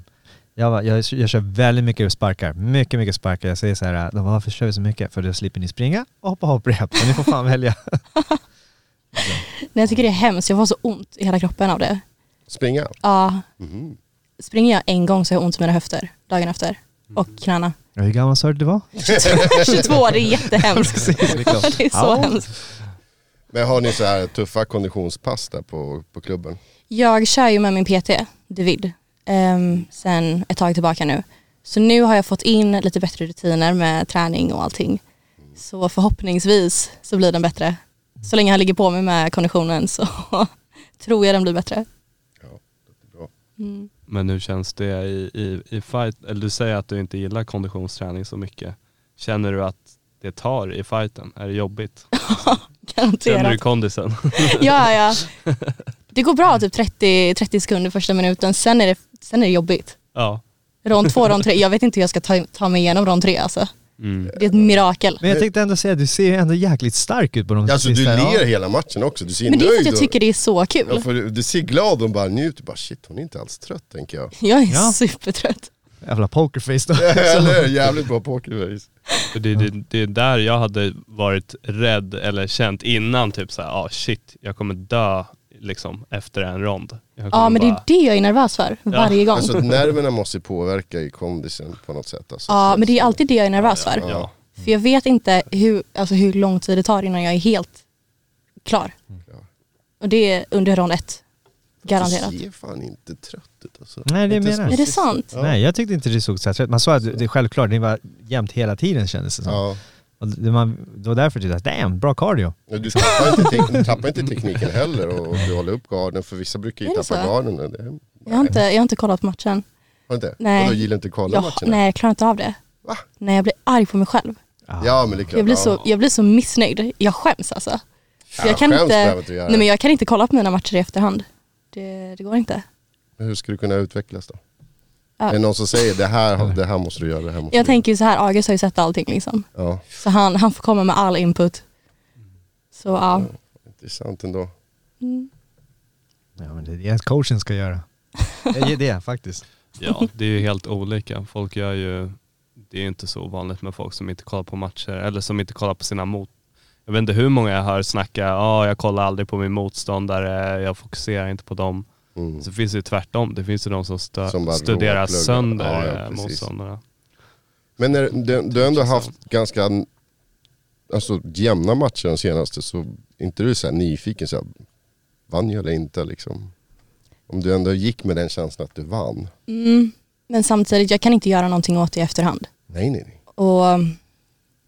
Speaker 5: Jag, bara, jag, jag kör väldigt mycket sparkar, mycket, mycket sparkar. Jag säger så här, de bara, varför kör vi så mycket? För då slipper ni springa och hoppa hopprep. Så ni får fan välja.
Speaker 7: Nej, jag tycker det är hemskt. Jag får så ont i hela kroppen av det.
Speaker 4: Springa?
Speaker 7: Ja. Springer jag en gång så har jag ont i mina höfter dagen efter. Och knäna.
Speaker 5: Ja, hur gammal sa du det var?
Speaker 7: 22, det är jättehemskt.
Speaker 5: Precis, liksom.
Speaker 7: Det är så
Speaker 5: Ja.
Speaker 7: hemskt.
Speaker 4: Men har ni så här tuffa konditionspass där på, på klubben?
Speaker 7: Jag kör ju med min PT, David, um, sen ett tag tillbaka nu. Så nu har jag fått in lite bättre rutiner med träning och allting. Så förhoppningsvis så blir den bättre. Så länge han ligger på mig med konditionen så tror jag den blir bättre.
Speaker 6: Men hur känns det i, i, i fight? Eller du säger att du inte gillar konditionsträning så mycket. Känner du att det tar i fighten? Är det jobbigt? Känner du
Speaker 7: Garanterat.
Speaker 6: kondisen?
Speaker 7: Ja, ja. Det går bra typ 30, 30 sekunder första minuten, sen är det, sen är det jobbigt.
Speaker 6: ja.
Speaker 7: Rond två, rond tre. Jag vet inte hur jag ska ta, ta mig igenom rond tre alltså.
Speaker 6: Mm.
Speaker 7: Det är ett mirakel.
Speaker 5: Men jag tänkte ändå säga, du ser ju ändå jäkligt stark ut på de
Speaker 4: Alltså du
Speaker 5: sista.
Speaker 4: ler
Speaker 5: ja.
Speaker 4: hela matchen också, du ser
Speaker 7: Men det är för
Speaker 4: nöjd
Speaker 7: att jag
Speaker 4: och-
Speaker 7: tycker det är så
Speaker 4: Ja,
Speaker 7: kul.
Speaker 4: för du, du ser glad och bara njuter, bara shit hon är inte alls trött tänker jag.
Speaker 7: Jag är
Speaker 5: Ja.
Speaker 7: supertrött.
Speaker 5: Jävla pokerface då.
Speaker 4: Eller hur? Jävligt bra pokerface.
Speaker 6: För det, det, det är där jag hade varit rädd eller känt innan typ såhär, ah shit, jag kommer dö liksom efter en rond. Jag
Speaker 7: Ja
Speaker 6: kommer
Speaker 7: men det är
Speaker 6: bara-
Speaker 7: det jag är nervös för varje gång.
Speaker 4: Alltså nerverna måste påverka i kondisen på något sätt. Alltså.
Speaker 7: Ja men det är alltid det jag är nervös för.
Speaker 6: Ja.
Speaker 7: För jag vet inte hur, alltså, hur lång tid det tar innan jag är helt klar.
Speaker 4: Mm.
Speaker 7: Och det är under rond ett. Garanterat.
Speaker 4: Du ser fan inte trött ut alltså.
Speaker 5: Nej, det
Speaker 4: Inte
Speaker 5: menar jag.
Speaker 4: så-
Speaker 7: Är det sant?
Speaker 5: Nej, jag tyckte inte du såg så här trött. Man såg att det är självklart, det var jämnt hela tiden kändes det som.
Speaker 4: Ja.
Speaker 5: Och det, man, det var därför jag tyckte, att, damn, bra cardio.
Speaker 4: Ja, Du tappar inte, tek- tappar inte tekniken heller och du håller upp garden för vissa brukar ju
Speaker 7: Är det
Speaker 4: tappa
Speaker 7: så?
Speaker 4: garden. Det, har
Speaker 7: Jag har inte, jag har inte kollat på matchen.
Speaker 4: du inte?
Speaker 7: Nej.
Speaker 4: Och då gillar inte att kolla
Speaker 7: Jag,
Speaker 4: matcherna?
Speaker 7: nej jag klarar inte av det.
Speaker 4: Va?
Speaker 7: Nej jag blir arg på mig själv.
Speaker 4: Ja men det är klart.
Speaker 7: Jag blir,
Speaker 4: Ja.
Speaker 7: så, jag blir så missnöjd. Jag skäms alltså. Så
Speaker 4: Ja,
Speaker 7: jag, kan
Speaker 4: skäms
Speaker 7: inte,
Speaker 4: behöver inte du göra.
Speaker 7: nej, men jag kan inte kolla på mina matcher i efterhand. Det, det går inte.
Speaker 4: Men hur ska du kunna utvecklas då?
Speaker 7: Ja.
Speaker 4: Är det någon som säger det här, det här måste du göra, det här måste du göra?
Speaker 7: Jag tänker ju så här, August har ju sett allting liksom.
Speaker 4: Ja,
Speaker 7: Så han, han får komma med all input. Så ja,
Speaker 4: Mm. intressant ändå.
Speaker 5: Ja, men det är det coachen ska göra. Jag ger det faktiskt.
Speaker 6: Ja, det är ju helt olika. Folk gör ju, det är ju inte så vanligt med folk som inte kollar på matcher eller som inte kollar på sina mot. Jag vet inte hur många jag hör snacka, ja jag kollar aldrig på min motståndare, jag fokuserar inte på dem.
Speaker 4: Mm.
Speaker 6: Så finns det ju tvärtom, det finns ju de som, stö-
Speaker 4: Som bara
Speaker 6: studerar
Speaker 4: råpluggar.
Speaker 6: sönder
Speaker 4: Ja, ja,
Speaker 6: eh,
Speaker 4: precis.
Speaker 6: motståndarna.
Speaker 4: Men när, du, du har ändå haft ganska alltså, jämna matcher de senaste, så är inte du så här nyfiken, så här, vann jag eller inte liksom? Om du ändå gick med den känslan att du vann.
Speaker 7: men samtidigt, jag kan inte göra någonting åt det i efterhand.
Speaker 4: Nej nej nej.
Speaker 7: Och um,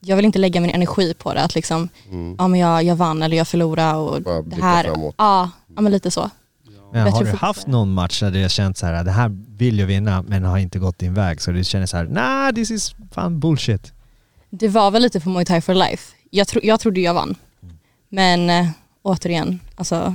Speaker 7: jag vill inte lägga min energi på det, att liksom, ja men jag, jag vann eller jag förlorade och
Speaker 4: Mm. Bara
Speaker 7: det
Speaker 4: blicka
Speaker 7: här.
Speaker 4: framåt.
Speaker 7: Ja, ja, men lite så.
Speaker 5: Men
Speaker 7: Jag
Speaker 5: har
Speaker 7: tror
Speaker 5: du
Speaker 7: fortfarande-
Speaker 5: haft någon match där du har känt så här, "Ah, det här vill jag vinna men har inte gått din väg så du känner så här, nah this is fan bullshit.
Speaker 7: Det var väl lite för Muay Thai for life. Jag, tro, jag trodde jag vann. Men eh, återigen, alltså,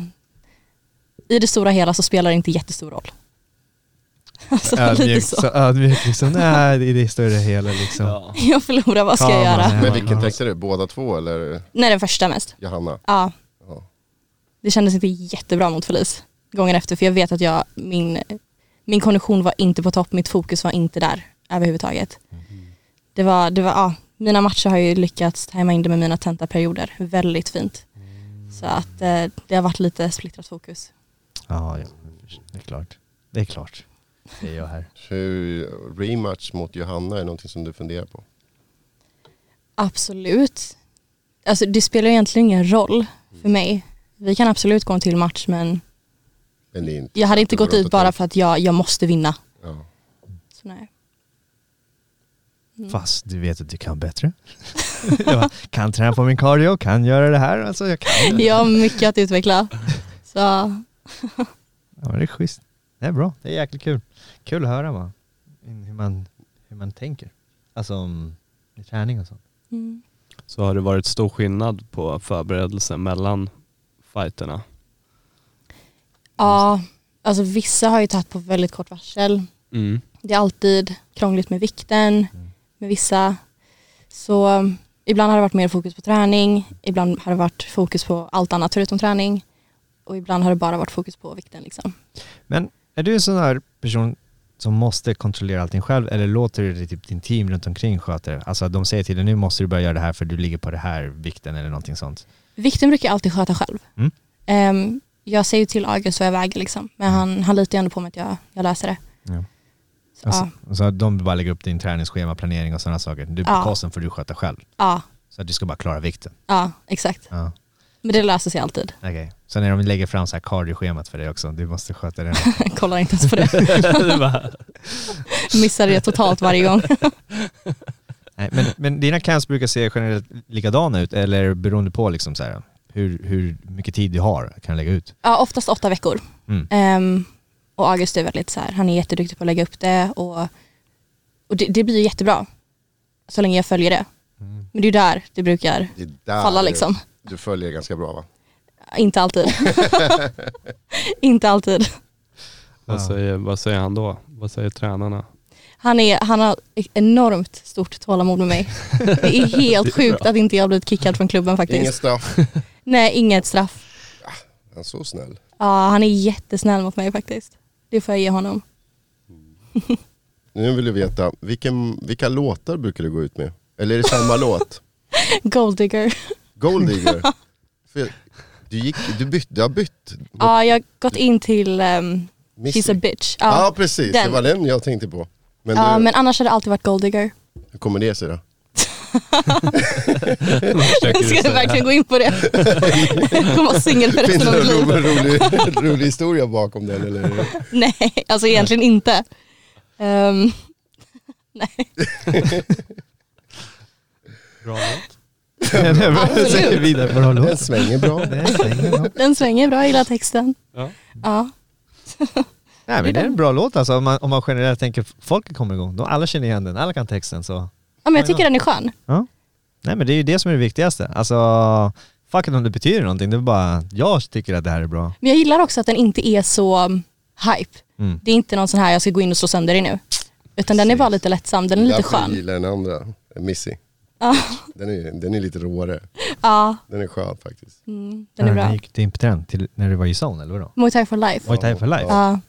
Speaker 7: i det stora hela så spelar det inte jättestor roll. Alltså lite
Speaker 5: Ödmjuk,
Speaker 7: så.
Speaker 5: så ödmjuk liksom. Nej, i det större hela liksom.
Speaker 7: Jag förlorar, vad ska jag
Speaker 5: Ja,
Speaker 7: göra?
Speaker 5: men-
Speaker 4: Men vilken text är det? Båda två eller
Speaker 7: Nej, den första mest.
Speaker 4: Johanna?
Speaker 7: Ja.
Speaker 4: Ja.
Speaker 7: Det kändes inte jättebra mot Felice gången efter för jag vet att jag, min, min kondition var inte på topp, mitt fokus var inte där överhuvudtaget.
Speaker 4: Mm-hmm.
Speaker 7: Det var, det var, ja, mina matcher har ju lyckats tajma in det med mina tentaperioder väldigt fint.
Speaker 4: Mm.
Speaker 7: Så att eh, det har varit lite splittrat fokus.
Speaker 5: Ja, ja, det är klart. Det är klart. Det är jag här.
Speaker 4: Hur rematch mot Johanna är någonting som du funderar på?
Speaker 7: Absolut. Alltså det spelar egentligen ingen roll
Speaker 4: Mm.
Speaker 7: för mig. Vi kan absolut gå en till match men
Speaker 4: Men det är inte
Speaker 7: jag hade inte
Speaker 4: Det går
Speaker 7: gått dit
Speaker 4: åt ett håll.
Speaker 7: bara för att jag, jag måste vinna.
Speaker 4: Ja.
Speaker 7: Så nej.
Speaker 5: Fast du vet att du kan bättre. jag bara, kan träna på min cardio, kan göra det här. Alltså jag kan. det.
Speaker 7: Jag har mycket att utveckla. Så
Speaker 5: Ja, men det är schysst. Det är bra. Det är jäkligt kul. Kul att höra man. In- Hur man, hur man tänker. Alltså om i träning och sånt.
Speaker 7: Mm.
Speaker 6: Så har det varit stor skillnad på förberedelsen mellan fighterna.
Speaker 7: Ja, alltså vissa har ju tagit på väldigt kort varsel.
Speaker 6: Mm.
Speaker 7: Det är alltid krångligt med vikten, med vissa. Så um, ibland har det varit mer fokus på träning, ibland har det varit fokus på allt annat förutom träning och ibland har det bara varit fokus på vikten. Liksom.
Speaker 5: Men är du en sån här person som måste kontrollera allting själv eller låter du det typ din team runt omkring sköta det? Alltså de säger till dig nu måste du börja göra det här för du ligger på det här vikten eller någonting sånt.
Speaker 7: Vikten brukar jag alltid sköta själv.
Speaker 5: Mm.
Speaker 7: Um, jag säger ju till August vad jag väger liksom, men han, han litar ju ändå på mig att jag, jag löser det.
Speaker 5: Ja.
Speaker 7: Så,
Speaker 5: Alltså,
Speaker 7: ja,
Speaker 5: Så de bara lägger upp din träningsschema, planering och sådana saker. Du,
Speaker 7: Ja.
Speaker 5: Kosten får du sköta själv.
Speaker 7: ja,
Speaker 5: Så att du ska bara klara vikten.
Speaker 7: ja, exakt.
Speaker 5: Ja.
Speaker 7: Men det löser sig alltid.
Speaker 5: Okej. Så när de lägger fram så här cardioschemat för dig också, du måste sköta det.
Speaker 7: Jag kollar inte ens på det. Missar det totalt varje gång.
Speaker 5: Nej, men, men dina camps brukar se generellt likadana ut eller beroende på liksom så här, hur, hur mycket tid du har kan lägga ut?
Speaker 7: Ja, oftast åtta veckor.
Speaker 5: Mm.
Speaker 7: Ehm, och August är väldigt så här, han är jätteduktig på att lägga upp det och, och det, det blir ju jättebra. Så länge jag följer det. Men det är ju där det brukar
Speaker 4: Det är där
Speaker 7: falla
Speaker 4: du-
Speaker 7: liksom.
Speaker 4: Du följer ganska bra va?
Speaker 7: Inte alltid. inte alltid.
Speaker 6: Vad,
Speaker 5: Ja.
Speaker 6: säger, vad säger han då? Vad säger tränarna?
Speaker 7: Han, är, han har ett enormt stort tålamod med mig. Det är helt sjukt att inte jag blivit kickad från klubben faktiskt.
Speaker 4: Ingen straff.
Speaker 7: Nej, inget straff.
Speaker 4: Han är så snäll.
Speaker 7: Ja, han är jättesnäll mot mig faktiskt. Det får jag ge honom.
Speaker 4: Nu vill du veta, vilken, vilka låtar brukar du gå ut med? Eller är det samma låt?
Speaker 7: Golddigger.
Speaker 4: Gold Digger? För Du, gick, du, bytt, du har bytt?
Speaker 7: Ja, jag har gått in till ehm,
Speaker 4: Mystery.
Speaker 7: She's a bitch.
Speaker 4: Ja
Speaker 7: Ja,
Speaker 4: precis, det
Speaker 7: den.
Speaker 4: var den jag tänkte på. Men,
Speaker 7: Ja,
Speaker 4: du,
Speaker 7: men annars har det alltid varit Golddigger.
Speaker 4: hur kommer det sig då?
Speaker 6: Försöker du
Speaker 7: Ska jag
Speaker 6: säga.
Speaker 7: verkligen gå in på det? Jag kommer vara singel för
Speaker 4: Finns
Speaker 7: resten
Speaker 4: det
Speaker 7: av mitt
Speaker 4: någon
Speaker 7: liv.
Speaker 4: rolig, rolig, rolig historia bakom den eller?
Speaker 7: Nej, alltså egentligen inte. Ehm,
Speaker 6: Bra låt.
Speaker 5: Absolut. Säger vidare på
Speaker 4: Den svänger bra.
Speaker 5: Nej
Speaker 7: den svänger bra, jag gillar texten.
Speaker 6: Ja.
Speaker 7: Ja,
Speaker 5: men det är en bra låt alltså om man, om man generellt tänker folk kommer igång. De, alla känner igen den, alla kan texten så.
Speaker 7: ja men jag tycker den är skön.
Speaker 5: Ja. Nej men det är ju det som är det viktigaste. Alltså, fuck it om det betyder någonting. Det är bara, jag tycker att det här är bra.
Speaker 7: Men jag gillar också att den inte är så um, hype.
Speaker 5: Mm.
Speaker 7: Det är inte någon sån här, jag ska gå in och slå sönder dig nu. Utan den är bara lite lättsam, den är Mm. lite
Speaker 4: Därför jag
Speaker 7: skön.
Speaker 4: gillar den andra, Missy. Den är, den är lite råare.
Speaker 7: Ja,
Speaker 4: Den är skön faktiskt.
Speaker 7: mm, den är
Speaker 5: När du
Speaker 7: bra.
Speaker 5: gick in på den till, när du var i zon eller vadå?
Speaker 7: Muay Thai for life.
Speaker 5: Muay Thai for life?
Speaker 7: Ja,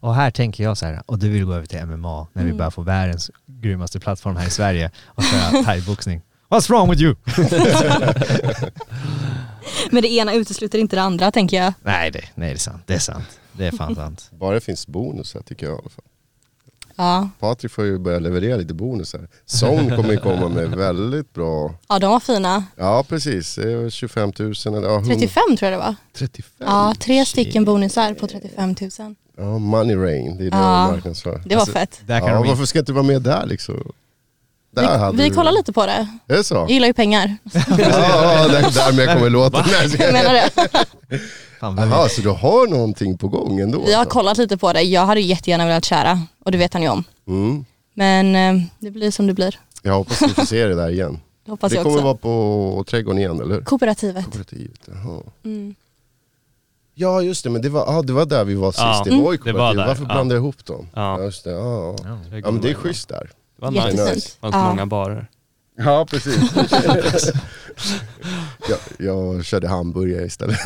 Speaker 5: Och här tänker jag så här, och du vill gå över till MMA när
Speaker 7: Mm.
Speaker 5: vi börjar få världens grymmaste plattform här i Sverige och köra thaiboxning. What's wrong with you?
Speaker 7: men det ena utesluter inte det andra tänker jag.
Speaker 5: Nej, det, nej, det är sant. Det är sant. Det är fan sant.
Speaker 4: Bara det finns bonusar tycker jag i alla fall.
Speaker 7: Ja,
Speaker 4: Patrik får ju börja leverera lite bonusar. Sån kommer ju komma med väldigt bra.
Speaker 7: ja de var fina.
Speaker 4: Ja precis, Det är 25 000 eller ja, 100
Speaker 7: 35 tror jag det var.
Speaker 4: 35.
Speaker 7: Ja, tre stycken bonusar på 35 000.
Speaker 4: Ja, Money Rain, det är det
Speaker 7: Ja.
Speaker 4: jag marknadsför. Alltså,
Speaker 7: Det var fett.
Speaker 5: Där kan
Speaker 4: ja,
Speaker 5: de
Speaker 4: varför ska inte du vara med där liksom? Där hade
Speaker 7: Vi, vi
Speaker 4: du-
Speaker 7: kollar lite på det.
Speaker 4: Är det så?
Speaker 7: Jag gillar ju pengar.
Speaker 4: Ja, där, därmed kommer låten.
Speaker 7: Jag menar det.
Speaker 5: fan, vem
Speaker 4: Jaha,
Speaker 5: vet?
Speaker 4: så du har någonting på gång ändå?
Speaker 7: Vi har
Speaker 4: alltså?
Speaker 7: kollat lite på det. Jag hade ju jättegärna velat köra och det vet han ju om.
Speaker 4: Mm.
Speaker 7: Men eh, det blir som det blir.
Speaker 4: Jag hoppas vi får se det där igen.
Speaker 7: Det hoppas
Speaker 4: det
Speaker 7: jag
Speaker 4: kommer
Speaker 7: också.
Speaker 4: vara på Trädgården igen, eller hur?
Speaker 7: Kooperativet.
Speaker 4: Kooperativet, jaha.
Speaker 7: Mm.
Speaker 4: Ja just det, men det var, ah, det var där vi var sist,
Speaker 6: Ja,
Speaker 4: det
Speaker 6: mm.
Speaker 4: var i
Speaker 6: Det var
Speaker 4: kooperativ.
Speaker 6: där,
Speaker 4: Varför
Speaker 6: ja.
Speaker 4: blandade jag ihop dem?
Speaker 6: Ja.
Speaker 4: just det, ja. ja.
Speaker 5: Ja.
Speaker 4: Ja men det är schysst där.
Speaker 6: Det var nice.
Speaker 7: Jättefint.
Speaker 6: Det fanns
Speaker 7: Ja.
Speaker 6: många barer.
Speaker 4: Ja precis. jag, jag körde hamburgare istället.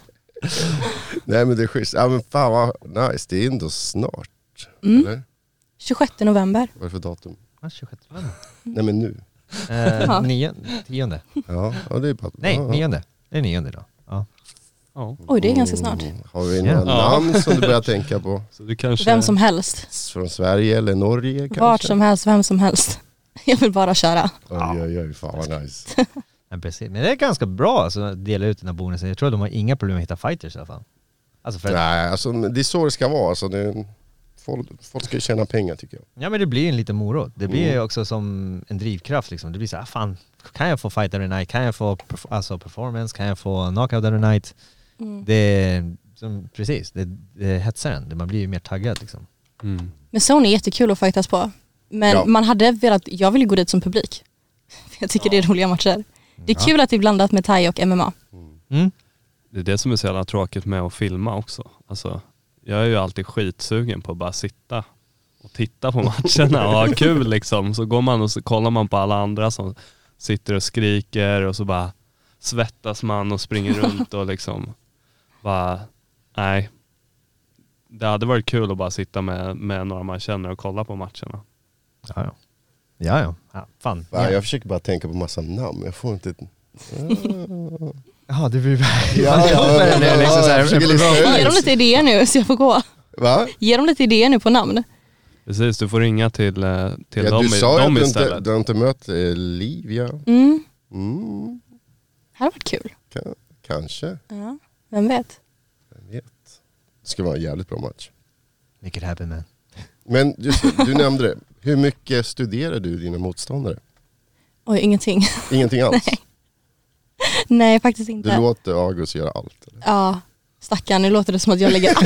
Speaker 4: Nej men det är schysst. Ja men fan vad nice, det är ändå snart.
Speaker 7: Mm.
Speaker 4: Eller?
Speaker 7: 26 november.
Speaker 4: Vad är det för datum?
Speaker 5: Ah, 26
Speaker 4: Nej men nu.
Speaker 5: eh, nionde, tionde.
Speaker 4: Ja, ja det är bara...
Speaker 5: Nej,
Speaker 4: ja.
Speaker 5: nionde. Det är nionde då. Ja.
Speaker 7: Oj, det är ganska snart.
Speaker 4: Har vi några
Speaker 5: Ja.
Speaker 4: namn som du börjar tänka på?
Speaker 6: Så du kanske...
Speaker 7: Vem som helst.
Speaker 4: Från Sverige eller Norge kanske?
Speaker 7: Vart som helst, vem som helst. Jag vill bara köra.
Speaker 4: Oj, oj, oj, fan vad nice.
Speaker 5: Men precis. Men det är ganska bra alltså, att dela ut den här bonusen. Jag tror att de har inga problem att hitta fighters i alla fall. Alltså för att,
Speaker 4: Nej, alltså, men det är så det ska vara. Alltså, det är, folk, folk ska ju tjäna pengar tycker jag.
Speaker 5: ja men det blir ju en liten morot. Det blir ju
Speaker 4: Mm.
Speaker 5: också som en drivkraft liksom. Det blir så här, "Ah, fan, kan jag få fight every night? Kan jag få perf- alltså, performance? Kan jag få knockout every night? Det är, som, precis, det, det hetsar en. Man blir ju mer taggad liksom.
Speaker 6: Mm.
Speaker 7: Men Sony är jättekul att fightas på. Men
Speaker 4: Ja.
Speaker 7: man hade velat, jag vill ju gå dit som publik. För Jag tycker det är roliga matcher. Det är kul att det är blandat med thai och MMA.
Speaker 5: Mm.
Speaker 6: Det är det som är så jävla tråkigt med att filma också. Alltså, jag är ju alltid skitsugen på att bara sitta och titta på matcherna och ha kul liksom. Så går man och så kollar man på alla andra som sitter och skriker och så bara svettas man och springer runt och liksom bara, nej. Det hade varit kul att bara sitta med, med några man känner och kolla på matcherna.
Speaker 5: Ja, ja. Ja, ja. ja fan.
Speaker 4: Fan,
Speaker 5: Ja.
Speaker 4: Jag försöker bara tänka på massa namn, jag får inte...
Speaker 5: Jaha, det blir...
Speaker 4: Ja, ja, ja,
Speaker 5: liksom så här,
Speaker 4: jag försöker
Speaker 5: en bra-
Speaker 4: lista
Speaker 7: Ge dem
Speaker 4: ut.
Speaker 7: lite idéer nu så jag får gå.
Speaker 4: Va?
Speaker 7: Ge dem lite idéer nu på namn.
Speaker 6: Precis, du får ringa till, eh, till
Speaker 4: Ja,
Speaker 6: dem,
Speaker 4: du
Speaker 6: i-
Speaker 4: sa ju
Speaker 6: dem
Speaker 4: att du inte,
Speaker 6: istället.
Speaker 4: du har inte mött eh, Liv, ja.
Speaker 7: Mm.
Speaker 4: Mm,
Speaker 7: Det hade varit kul.
Speaker 4: ka- kanske.
Speaker 7: Ja. Vem vet?
Speaker 4: Jag vet. Det skulle vara en jävligt bra match.
Speaker 5: Make it happen man.
Speaker 4: Men just, det, du nämnde det, hur mycket studerar du dina motståndare?
Speaker 7: Oj, ingenting.
Speaker 4: Ingenting alls?
Speaker 7: Nej, faktiskt
Speaker 4: Du
Speaker 7: inte.
Speaker 4: låter Agus göra allt? Eller?
Speaker 7: Ja, stackarn, nu låter det som att jag lägger allt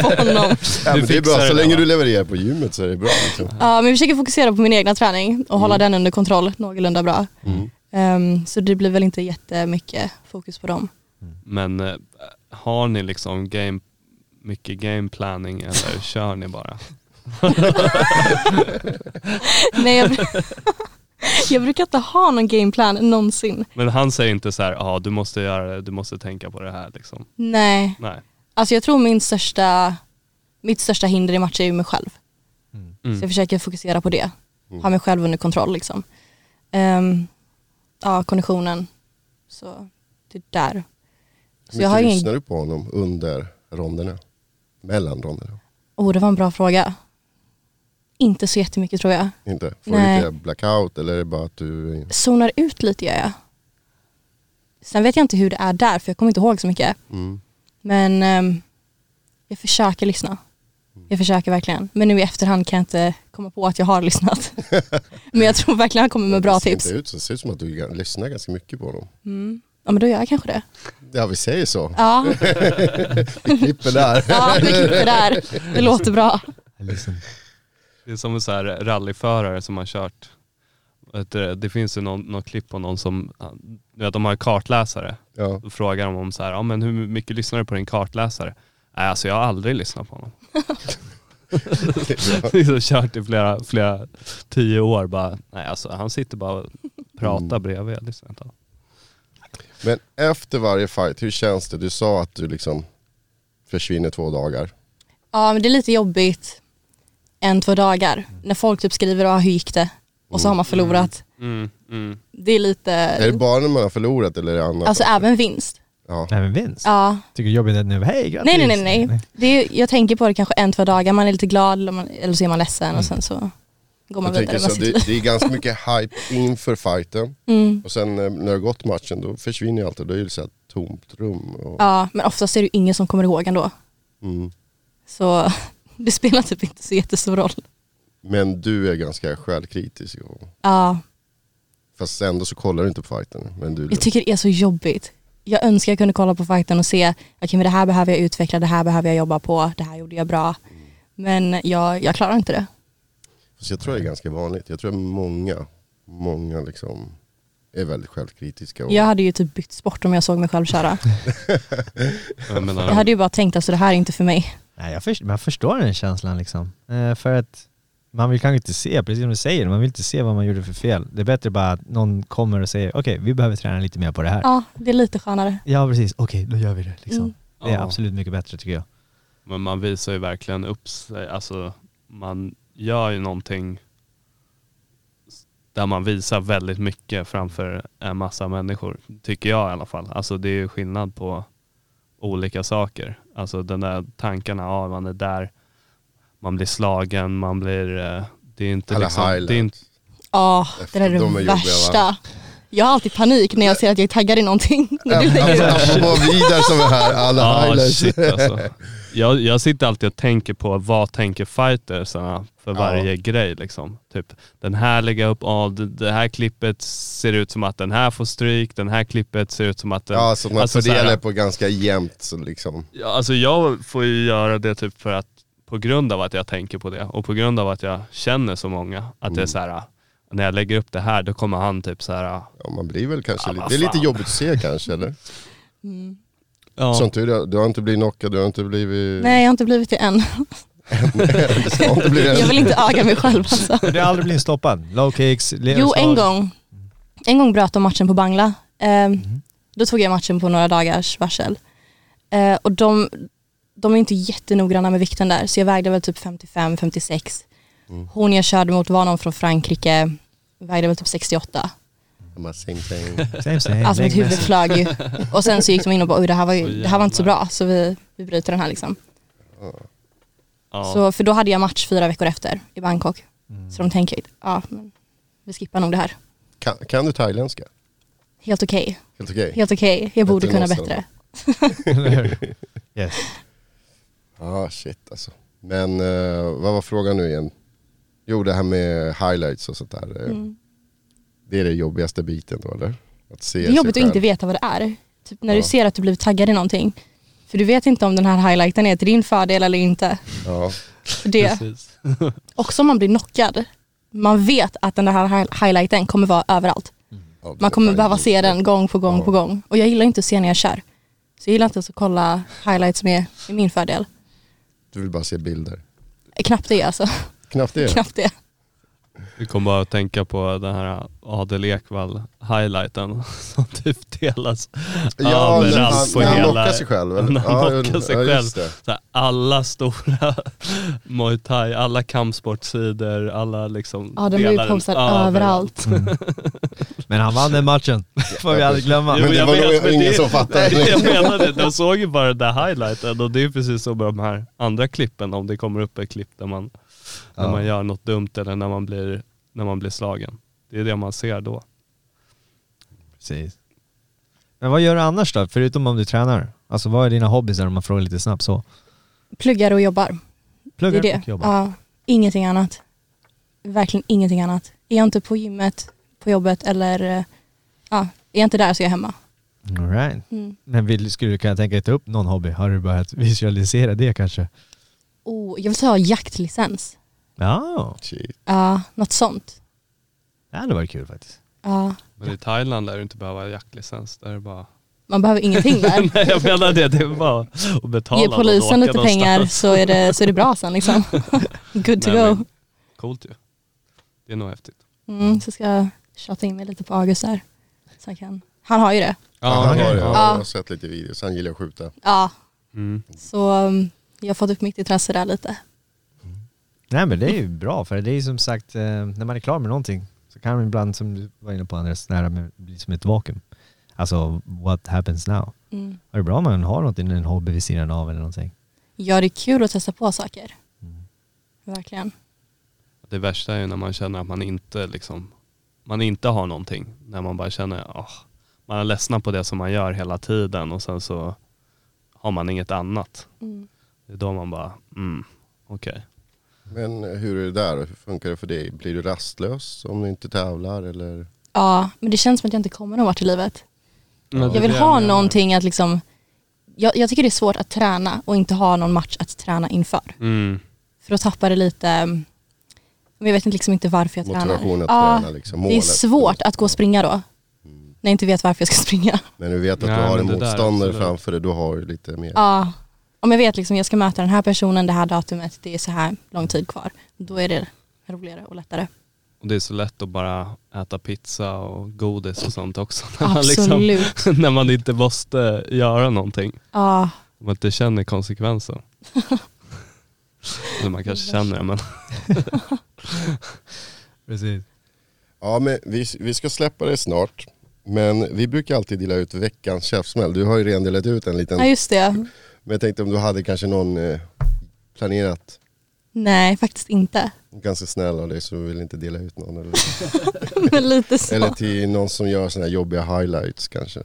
Speaker 7: på honom.
Speaker 4: Ja, men det är
Speaker 6: fixar
Speaker 4: bra,
Speaker 6: det där,
Speaker 4: så länge
Speaker 6: va?
Speaker 4: du levererar på gymmet så är det bra. Liksom.
Speaker 7: Ja, men jag försöker fokusera på min egna träning och hålla
Speaker 4: Mm.
Speaker 7: den under kontroll någorlunda bra. Ehm, så det blir väl inte jättemycket fokus på dem.
Speaker 6: Men eh, har ni liksom game, mycket game planning eller kör ni bara?
Speaker 7: Nej, jag, br- jag brukar inte ha någon gameplan någonsin.
Speaker 6: Men han säger inte så här, ja ah, du måste göra det, du måste tänka på det här liksom.
Speaker 7: Nej,
Speaker 6: Nej.
Speaker 7: alltså jag tror min största, mitt största hinder i matcher är ju mig själv.
Speaker 6: Mm.
Speaker 7: Så jag försöker fokusera på det. Ha mig själv under kontroll liksom. Ehm, ja, konditionen. Så det är där. Så
Speaker 4: Mycket
Speaker 7: jag har ingen
Speaker 4: lyssnar du på honom under ronderna? Mellan ronderna?
Speaker 7: Oh, det var en bra fråga. Inte så jättemycket tror jag.
Speaker 4: Inte? Får
Speaker 7: Nej.
Speaker 4: du lite blackout eller är det bara att du...
Speaker 7: Zonar ut lite gör jag. Sen vet jag inte hur det är där för jag kommer inte ihåg så mycket.
Speaker 4: Mm.
Speaker 7: Men ehm, jag försöker lyssna.
Speaker 4: Mm.
Speaker 7: Jag försöker verkligen. Men nu i efterhand kan jag inte komma på att jag har lyssnat. men jag tror verkligen han kommer med bra
Speaker 4: det ser
Speaker 7: tips.
Speaker 4: Inte ut, så det ser ut som att du gan- lyssnar ganska mycket på honom.
Speaker 7: Ja men då gör jag kanske det.
Speaker 4: Ja vi säger så.
Speaker 7: Ja,
Speaker 4: Vi klipper där.
Speaker 7: ja vi klipper där. Det låter bra.
Speaker 5: Listen.
Speaker 6: Det är som en så här rallyförare som har kört. Vet du Det det finns ju någon, något klipp på någon som, du vet, de har en kartläsare.
Speaker 4: Ja.
Speaker 6: Då frågar de om så här, ja ah, men hur mycket lyssnar du på din kartläsare? Nej alltså jag har aldrig lyssnat på honom. liksom kört i flera, flera tio år bara, nej alltså han sitter bara och pratar bredvid. Jag lyssnar inte på honom.
Speaker 4: Men efter varje fight, hur känns det? Du sa att du liksom försvinner två dagar.
Speaker 7: Ja, men det är lite jobbigt en, två dagar. När folk typ skriver ah, hur gick det? Och så har man förlorat.
Speaker 6: Mm, mm.
Speaker 7: Det är lite,
Speaker 4: Är det bara när man har förlorat eller är det annat?
Speaker 7: alltså även vinst.
Speaker 4: ja.
Speaker 5: Nej men vinst.
Speaker 7: Ja.
Speaker 5: Tycker jobbigt att nu, hej grattis.
Speaker 7: Nej, nej, nej, nej. nej. Det är, jag tänker på det kanske en, två dagar. Man är lite glad eller, man, eller så är man ledsen och sen så går man
Speaker 4: Jag
Speaker 7: vidare
Speaker 4: tänker så,
Speaker 7: med sitt liv.
Speaker 4: det, det är ganska mycket hype inför fighten
Speaker 7: Mm.
Speaker 4: och sen eh, när det har gått matchen då försvinner ju allt och då är det så här tomt rum. Och,
Speaker 7: Ja, men oftast är det ju ingen som kommer ihåg ändå.
Speaker 4: mm.
Speaker 7: Så det spelar typ inte så jättestor roll.
Speaker 4: Men du är ganska självkritisk. Och,
Speaker 7: Ja,
Speaker 4: fast ändå så kollar du inte på fighten. Men du,
Speaker 7: jag tycker det är så jobbigt. Jag önskar jag kunde kolla på fighten och se, okej men det här behöver jag utveckla, det här behöver jag jobba på, det här gjorde jag bra. Men jag, jag klarar inte det.
Speaker 4: Fast jag tror det är ganska vanligt. Jag tror att många, många liksom är väldigt självkritiska. Och,
Speaker 7: Jag hade ju typ bytt sport om jag såg mig själv köra.
Speaker 6: Jag menar,
Speaker 7: Jag hade ju bara tänkt alltså det här är inte för mig.
Speaker 5: Nej, jag förstår, man förstår den känslan liksom. Eh, för att man vill kanske inte se, precis som du säger, man vill inte se vad man gjorde för fel. Det är bättre bara att någon kommer och säger okej, vi behöver träna lite mer på det här. Ja,
Speaker 7: Ja, det är lite skönare.
Speaker 5: precis, okej, då gör vi det liksom.
Speaker 7: Mm.
Speaker 5: Det är
Speaker 6: Ja.
Speaker 5: absolut mycket bättre tycker jag.
Speaker 6: Men man visar ju verkligen upp sig. Alltså, man gör ju någonting där man visar väldigt mycket framför en massa människor. Tycker jag i alla fall. Alltså det är ju skillnad på olika saker. Alltså den där tankarna, ja man är där, man blir slagen, man blir... eh, Det är inte
Speaker 4: Alla
Speaker 6: liksom... Det är inte,
Speaker 4: highlights.
Speaker 7: Ja,
Speaker 4: Efter
Speaker 7: det där är det
Speaker 4: de är jobbiga, va?
Speaker 7: värsta. jag har alltid panik när jag ser att jag är taggad i någonting. När du lägger upp.
Speaker 4: Apropå Vidar som är här, alla
Speaker 6: ja,
Speaker 4: highlights.
Speaker 6: shit alltså. jag, jag sitter alltid och tänker på vad tänker fightersarna för
Speaker 4: Ja.
Speaker 6: varje grej liksom. Typ den här lägger jag upp, ja, det, det här klippet ser ut som att den här får stryk, den här klippet ser ut som att den...
Speaker 4: Ja, så man
Speaker 6: Alltså, så här-
Speaker 4: fördelar på ganska jämnt så liksom.
Speaker 6: Ja, Alltså jag får ju göra det typ för att på grund av att jag tänker på det och på grund av att jag känner så många att det är så här "Ah, när jag lägger upp det här då kommer han typ så här
Speaker 4: Ja, man blir väl kanske
Speaker 6: Ja,
Speaker 4: lite,
Speaker 6: vad
Speaker 4: det är lite
Speaker 6: fan.
Speaker 4: jobbigt att se kanske eller?
Speaker 7: Mm.
Speaker 6: ja.
Speaker 4: Som tur är, du har inte blivit knockad, du har inte blivit...
Speaker 7: Nej, jag har inte blivit det än.
Speaker 4: Du har inte blivit
Speaker 7: Jag vill inte öga mig själv alltså.
Speaker 5: Du har aldrig blivit stoppad? Low kicks, le-
Speaker 7: Jo, en
Speaker 5: slag.
Speaker 7: gång. En gång bröt de matchen på Bangla. Eh,
Speaker 4: Mhm.
Speaker 7: Då tog jag matchen på några dagars varsel. Eh, och de, de är inte jättenoggranna med vikten där, så jag vägde väl typ 55-56.
Speaker 4: Mm.
Speaker 7: Hon jag körde mot var någon från Frankrike, vägde väl typ 68.
Speaker 4: Same thing.
Speaker 5: Same, same.
Speaker 7: Alltså mitt
Speaker 5: Lägg
Speaker 7: huvud flög ju. Och sen så gick de in och bara, "Oj, det här var, ju,
Speaker 6: Åh,
Speaker 7: det här var inte så
Speaker 6: jävlar.
Speaker 7: bra, så vi, vi bryter den här liksom.
Speaker 6: Ja. Mm.
Speaker 7: Så, för då hade jag match fyra veckor efter i Bangkok. Så de tänker, ja, men vi skippar nog det här.
Speaker 4: Kan, kan du thailändska?
Speaker 7: Helt okej,
Speaker 4: Helt okej?
Speaker 7: helt okej. Jag borde
Speaker 4: Bättre än
Speaker 7: kunna
Speaker 4: oss,
Speaker 7: bättre.
Speaker 4: eller?
Speaker 5: mig. yes.
Speaker 4: Ja, ah, shit alltså. Men eh, vad var frågan nu igen? Jo, det här med highlights och sånt där. eh,
Speaker 7: Mm.
Speaker 4: Det är det jobbigaste biten då eller? Att se
Speaker 7: Det är jobbigt
Speaker 4: sig
Speaker 7: att inte
Speaker 4: själv.
Speaker 7: veta vad det är. Typ när
Speaker 4: Ja.
Speaker 7: du ser att du blivit taggad i någonting. För du vet inte om den här highlighten är till din fördel eller inte.
Speaker 4: Ja.
Speaker 7: För det.
Speaker 6: precis.
Speaker 7: Också om man blir knockad. Man vet att den här hi- highlighten kommer vara överallt.
Speaker 4: Ja,
Speaker 7: Man kommer
Speaker 4: det-
Speaker 7: behöva se den gång på gång
Speaker 4: Ja.
Speaker 7: på gång. Och jag gillar inte att se när jag kör. Så jag gillar inte ens att kolla highlights med i min fördel.
Speaker 4: Du vill bara se bilder.
Speaker 7: Knappt det alltså.
Speaker 4: Knappt det.
Speaker 7: Knappt det.
Speaker 6: Vi kommer bara att tänka på den här Adel Ekvall highlighten som typ delas
Speaker 4: Ja, när han,
Speaker 6: överallt på
Speaker 4: när han
Speaker 6: hela...
Speaker 4: lockar sig själv. eller?
Speaker 6: När han
Speaker 4: Ja,
Speaker 6: lockar sig
Speaker 4: ja,
Speaker 6: själv.
Speaker 4: just det.
Speaker 6: Så här, alla stora muay thai, alla kampsportsidor, alla liksom
Speaker 7: Ja, den blir ju
Speaker 6: delar den
Speaker 7: postad överallt.
Speaker 5: Men han vann den matchen, får vi aldrig glömma.
Speaker 4: Men det
Speaker 6: jag
Speaker 4: var nog
Speaker 6: men
Speaker 4: ingen
Speaker 6: det-
Speaker 4: som fattade.
Speaker 6: Nej, jag menar det. De såg ju bara den där highlighten och det är precis som med de här andra klippen om det kommer upp ett klipp där man, när
Speaker 5: Ja.
Speaker 6: man gör något dumt eller när man, blir, när man blir slagen. Det är det man ser då.
Speaker 5: Precis. Men vad gör du annars då, förutom om du tränar? Alltså vad är dina hobbys om man frågar lite snabbt så?
Speaker 7: Pluggar och jobbar. Det
Speaker 5: Pluggar
Speaker 7: är det.
Speaker 5: och jobbar?
Speaker 7: Ja, ingenting annat. Verkligen ingenting annat. Är jag inte på gymmet, på jobbet eller eh, ja, är jag inte där så är jag hemma.
Speaker 5: All right.
Speaker 7: Mm.
Speaker 5: Men vill, skulle du kunna tänka dig ta upp någon hobby? Har du börjat visualisera det kanske?
Speaker 7: Oh, jag vill ta jaktlicens.
Speaker 5: Ja,
Speaker 4: Shit.
Speaker 7: Ja, något sånt.
Speaker 5: det hade varit kul faktiskt.
Speaker 7: Ja,
Speaker 6: Men i Thailand lär du inte behöva jaktlicens. Där är det bara...
Speaker 7: man behöver ingenting där.
Speaker 6: Nej jag menar det, det är bara att betala
Speaker 7: Ge
Speaker 6: och
Speaker 7: polisen
Speaker 6: åka
Speaker 7: lite
Speaker 6: någonstans.
Speaker 7: pengar så är, det, så är det bra sen liksom. Good to
Speaker 6: Nej,
Speaker 7: go.
Speaker 6: men Coolt ju. Det är nog häftigt.
Speaker 7: Mm, så ska jag tjata in mig lite på August där. Så han, kan. han har ju det.
Speaker 4: Ja, han har det.
Speaker 6: Ja.
Speaker 4: Jag har sett lite videos, han gillar att skjuta.
Speaker 7: Ja,
Speaker 6: Mm.
Speaker 7: så um, jag har fått upp mitt intresse där lite.
Speaker 5: Nej men det är ju bra för det är ju som sagt, eh, när man är klar med någonting så kan man ibland, som du var inne på Andres, nära med, bli som ett vakuum. Alltså what happens now?
Speaker 7: Mm.
Speaker 5: Och Det är bra om man har någonting, en hobby vid sidan av eller någonting.
Speaker 7: Ja, det är kul att testa på saker. Verkligen.
Speaker 6: Det värsta är ju när man känner att man inte liksom, man inte har någonting. När man bara känner, ah, man är ledsna på det som man gör hela tiden och sen så har man inget annat.
Speaker 7: Mm.
Speaker 6: Det är då man bara, mm, okej.
Speaker 4: Men hur är det där? Hur funkar det för dig? Blir du rastlös om du inte tävlar eller?
Speaker 7: Ja, men det känns som att jag inte kommer någon vart i livet. Jag vill ha någonting att liksom... Jag, jag tycker det är svårt att träna och inte ha någon match att träna inför.
Speaker 6: Mm.
Speaker 7: För då tappar det lite... mm, Men jag vet inte liksom inte varför jag tränar.
Speaker 4: Motivation att
Speaker 7: ja,
Speaker 4: träna liksom,
Speaker 7: Det är
Speaker 4: målet.
Speaker 7: svårt att gå och springa då. när jag inte vet varför jag ska springa.
Speaker 4: När du vet att
Speaker 6: Nej,
Speaker 4: du har en
Speaker 6: men det där,
Speaker 4: motståndare
Speaker 6: absolut.
Speaker 4: framför dig, då har du lite mer.
Speaker 7: Ja, om jag vet liksom jag ska möta den här personen det här datumet, det är så här lång tid kvar. Då är det roligare och lättare.
Speaker 6: Och det är så lätt att bara äta pizza och godis och sånt också.
Speaker 7: Absolut.
Speaker 6: liksom, när man inte måste göra någonting.
Speaker 7: Ja,
Speaker 6: Om man inte känner konsekvensen. Eller man kanske känner det men
Speaker 5: Precis.
Speaker 4: Ja, men vi, vi ska släppa det snart. Men vi brukar alltid dela ut veckans käftsmäll. Du har ju redan delat ut en liten.
Speaker 7: ja just det.
Speaker 4: Men jag tänkte om du hade kanske någon eh, planerat.
Speaker 7: Nej, faktiskt inte.
Speaker 4: Ganska snäll av dig så du vill inte dela ut någon. Eller,
Speaker 7: Men lite så.
Speaker 4: eller till någon som gör sådana här jobbiga highlights kanske.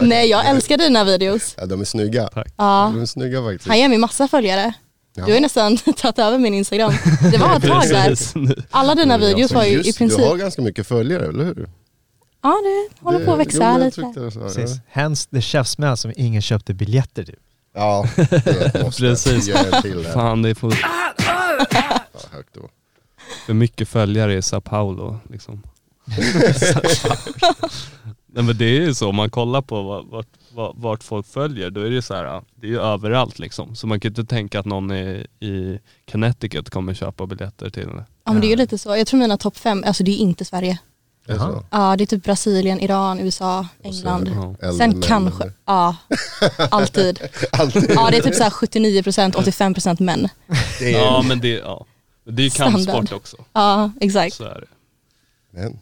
Speaker 7: Nej, jag älskar dina videos.
Speaker 4: Ja, de är snygga.
Speaker 7: Ja.
Speaker 4: De är snygga faktiskt.
Speaker 7: Han ger mig massa följare.
Speaker 4: Ja.
Speaker 7: Du har ju nästan tagit över min Instagram. Det var ett tag där.
Speaker 6: precis nu.
Speaker 7: Alla dina videos var ju
Speaker 4: alltså Just
Speaker 7: i
Speaker 4: det, Du har
Speaker 7: princip...
Speaker 4: ganska mycket följare, eller hur?
Speaker 7: Ja, det håller
Speaker 4: Det-
Speaker 7: på att
Speaker 4: jo, men
Speaker 7: växa
Speaker 4: jag
Speaker 7: lite.
Speaker 4: tyckte det så här,
Speaker 5: Precis. Hens the käftsmäll som alltså, ingen köpte biljetter typ. till.
Speaker 4: Ja, Ja, det måste jag.
Speaker 6: Precis.
Speaker 4: Jag gör en till där.
Speaker 6: Fan det är för,
Speaker 4: Ja, högt då.
Speaker 6: för mycket följare i Sao Paulo. Liksom. Nej men det är ju så, om man kollar på vad- vart, vart, vart folk följer, då är det ju så här, ja, det är ju överallt liksom. Så man kan ju inte tänka att någon i, i Connecticut kommer köpa biljetter till det.
Speaker 7: Ja, men det är ju lite så. Jag tror mina topp fem, alltså det är inte Sverige.
Speaker 4: Det är så.
Speaker 7: Ja, det är typ Brasilien, Iran, USA, England.
Speaker 6: Ja.
Speaker 7: Sen
Speaker 4: Äldre
Speaker 7: kanske,
Speaker 4: män.
Speaker 7: ja, alltid.
Speaker 4: Alltid.
Speaker 7: Ja, det är typ så här 79%, 85% män.
Speaker 4: Det är-
Speaker 6: Ja men det, ja. Men det är ju
Speaker 7: Standard.
Speaker 6: kampsport också.
Speaker 7: Ja, exakt.
Speaker 6: Så är det.
Speaker 4: Men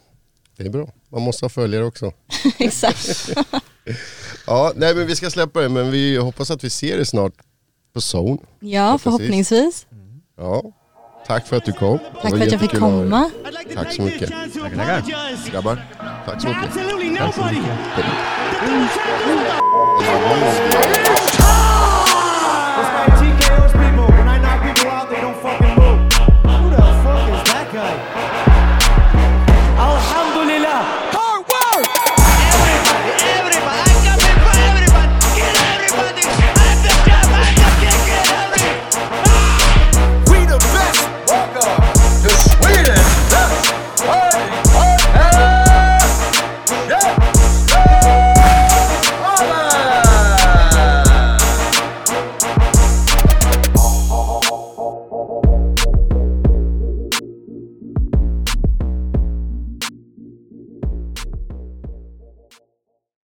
Speaker 4: det är bra. Man måste ha följare också.
Speaker 7: exakt.
Speaker 4: Ja, nej men vi ska släppa det, men vi hoppas att vi ser dig snart på Zone.
Speaker 7: Ja, förhoppningsvis.
Speaker 4: Ja. Tack för att du kom. Det
Speaker 7: Tack
Speaker 4: var
Speaker 7: för att jag fick
Speaker 4: jättekul att ha dig.
Speaker 7: komma.
Speaker 1: I'd like to
Speaker 4: Tack
Speaker 1: take
Speaker 4: så mycket.
Speaker 1: this chance to apologize to
Speaker 4: Grabbar, tack så mycket.
Speaker 1: absolutely nobody. The double champ doesn't
Speaker 2: It's my team.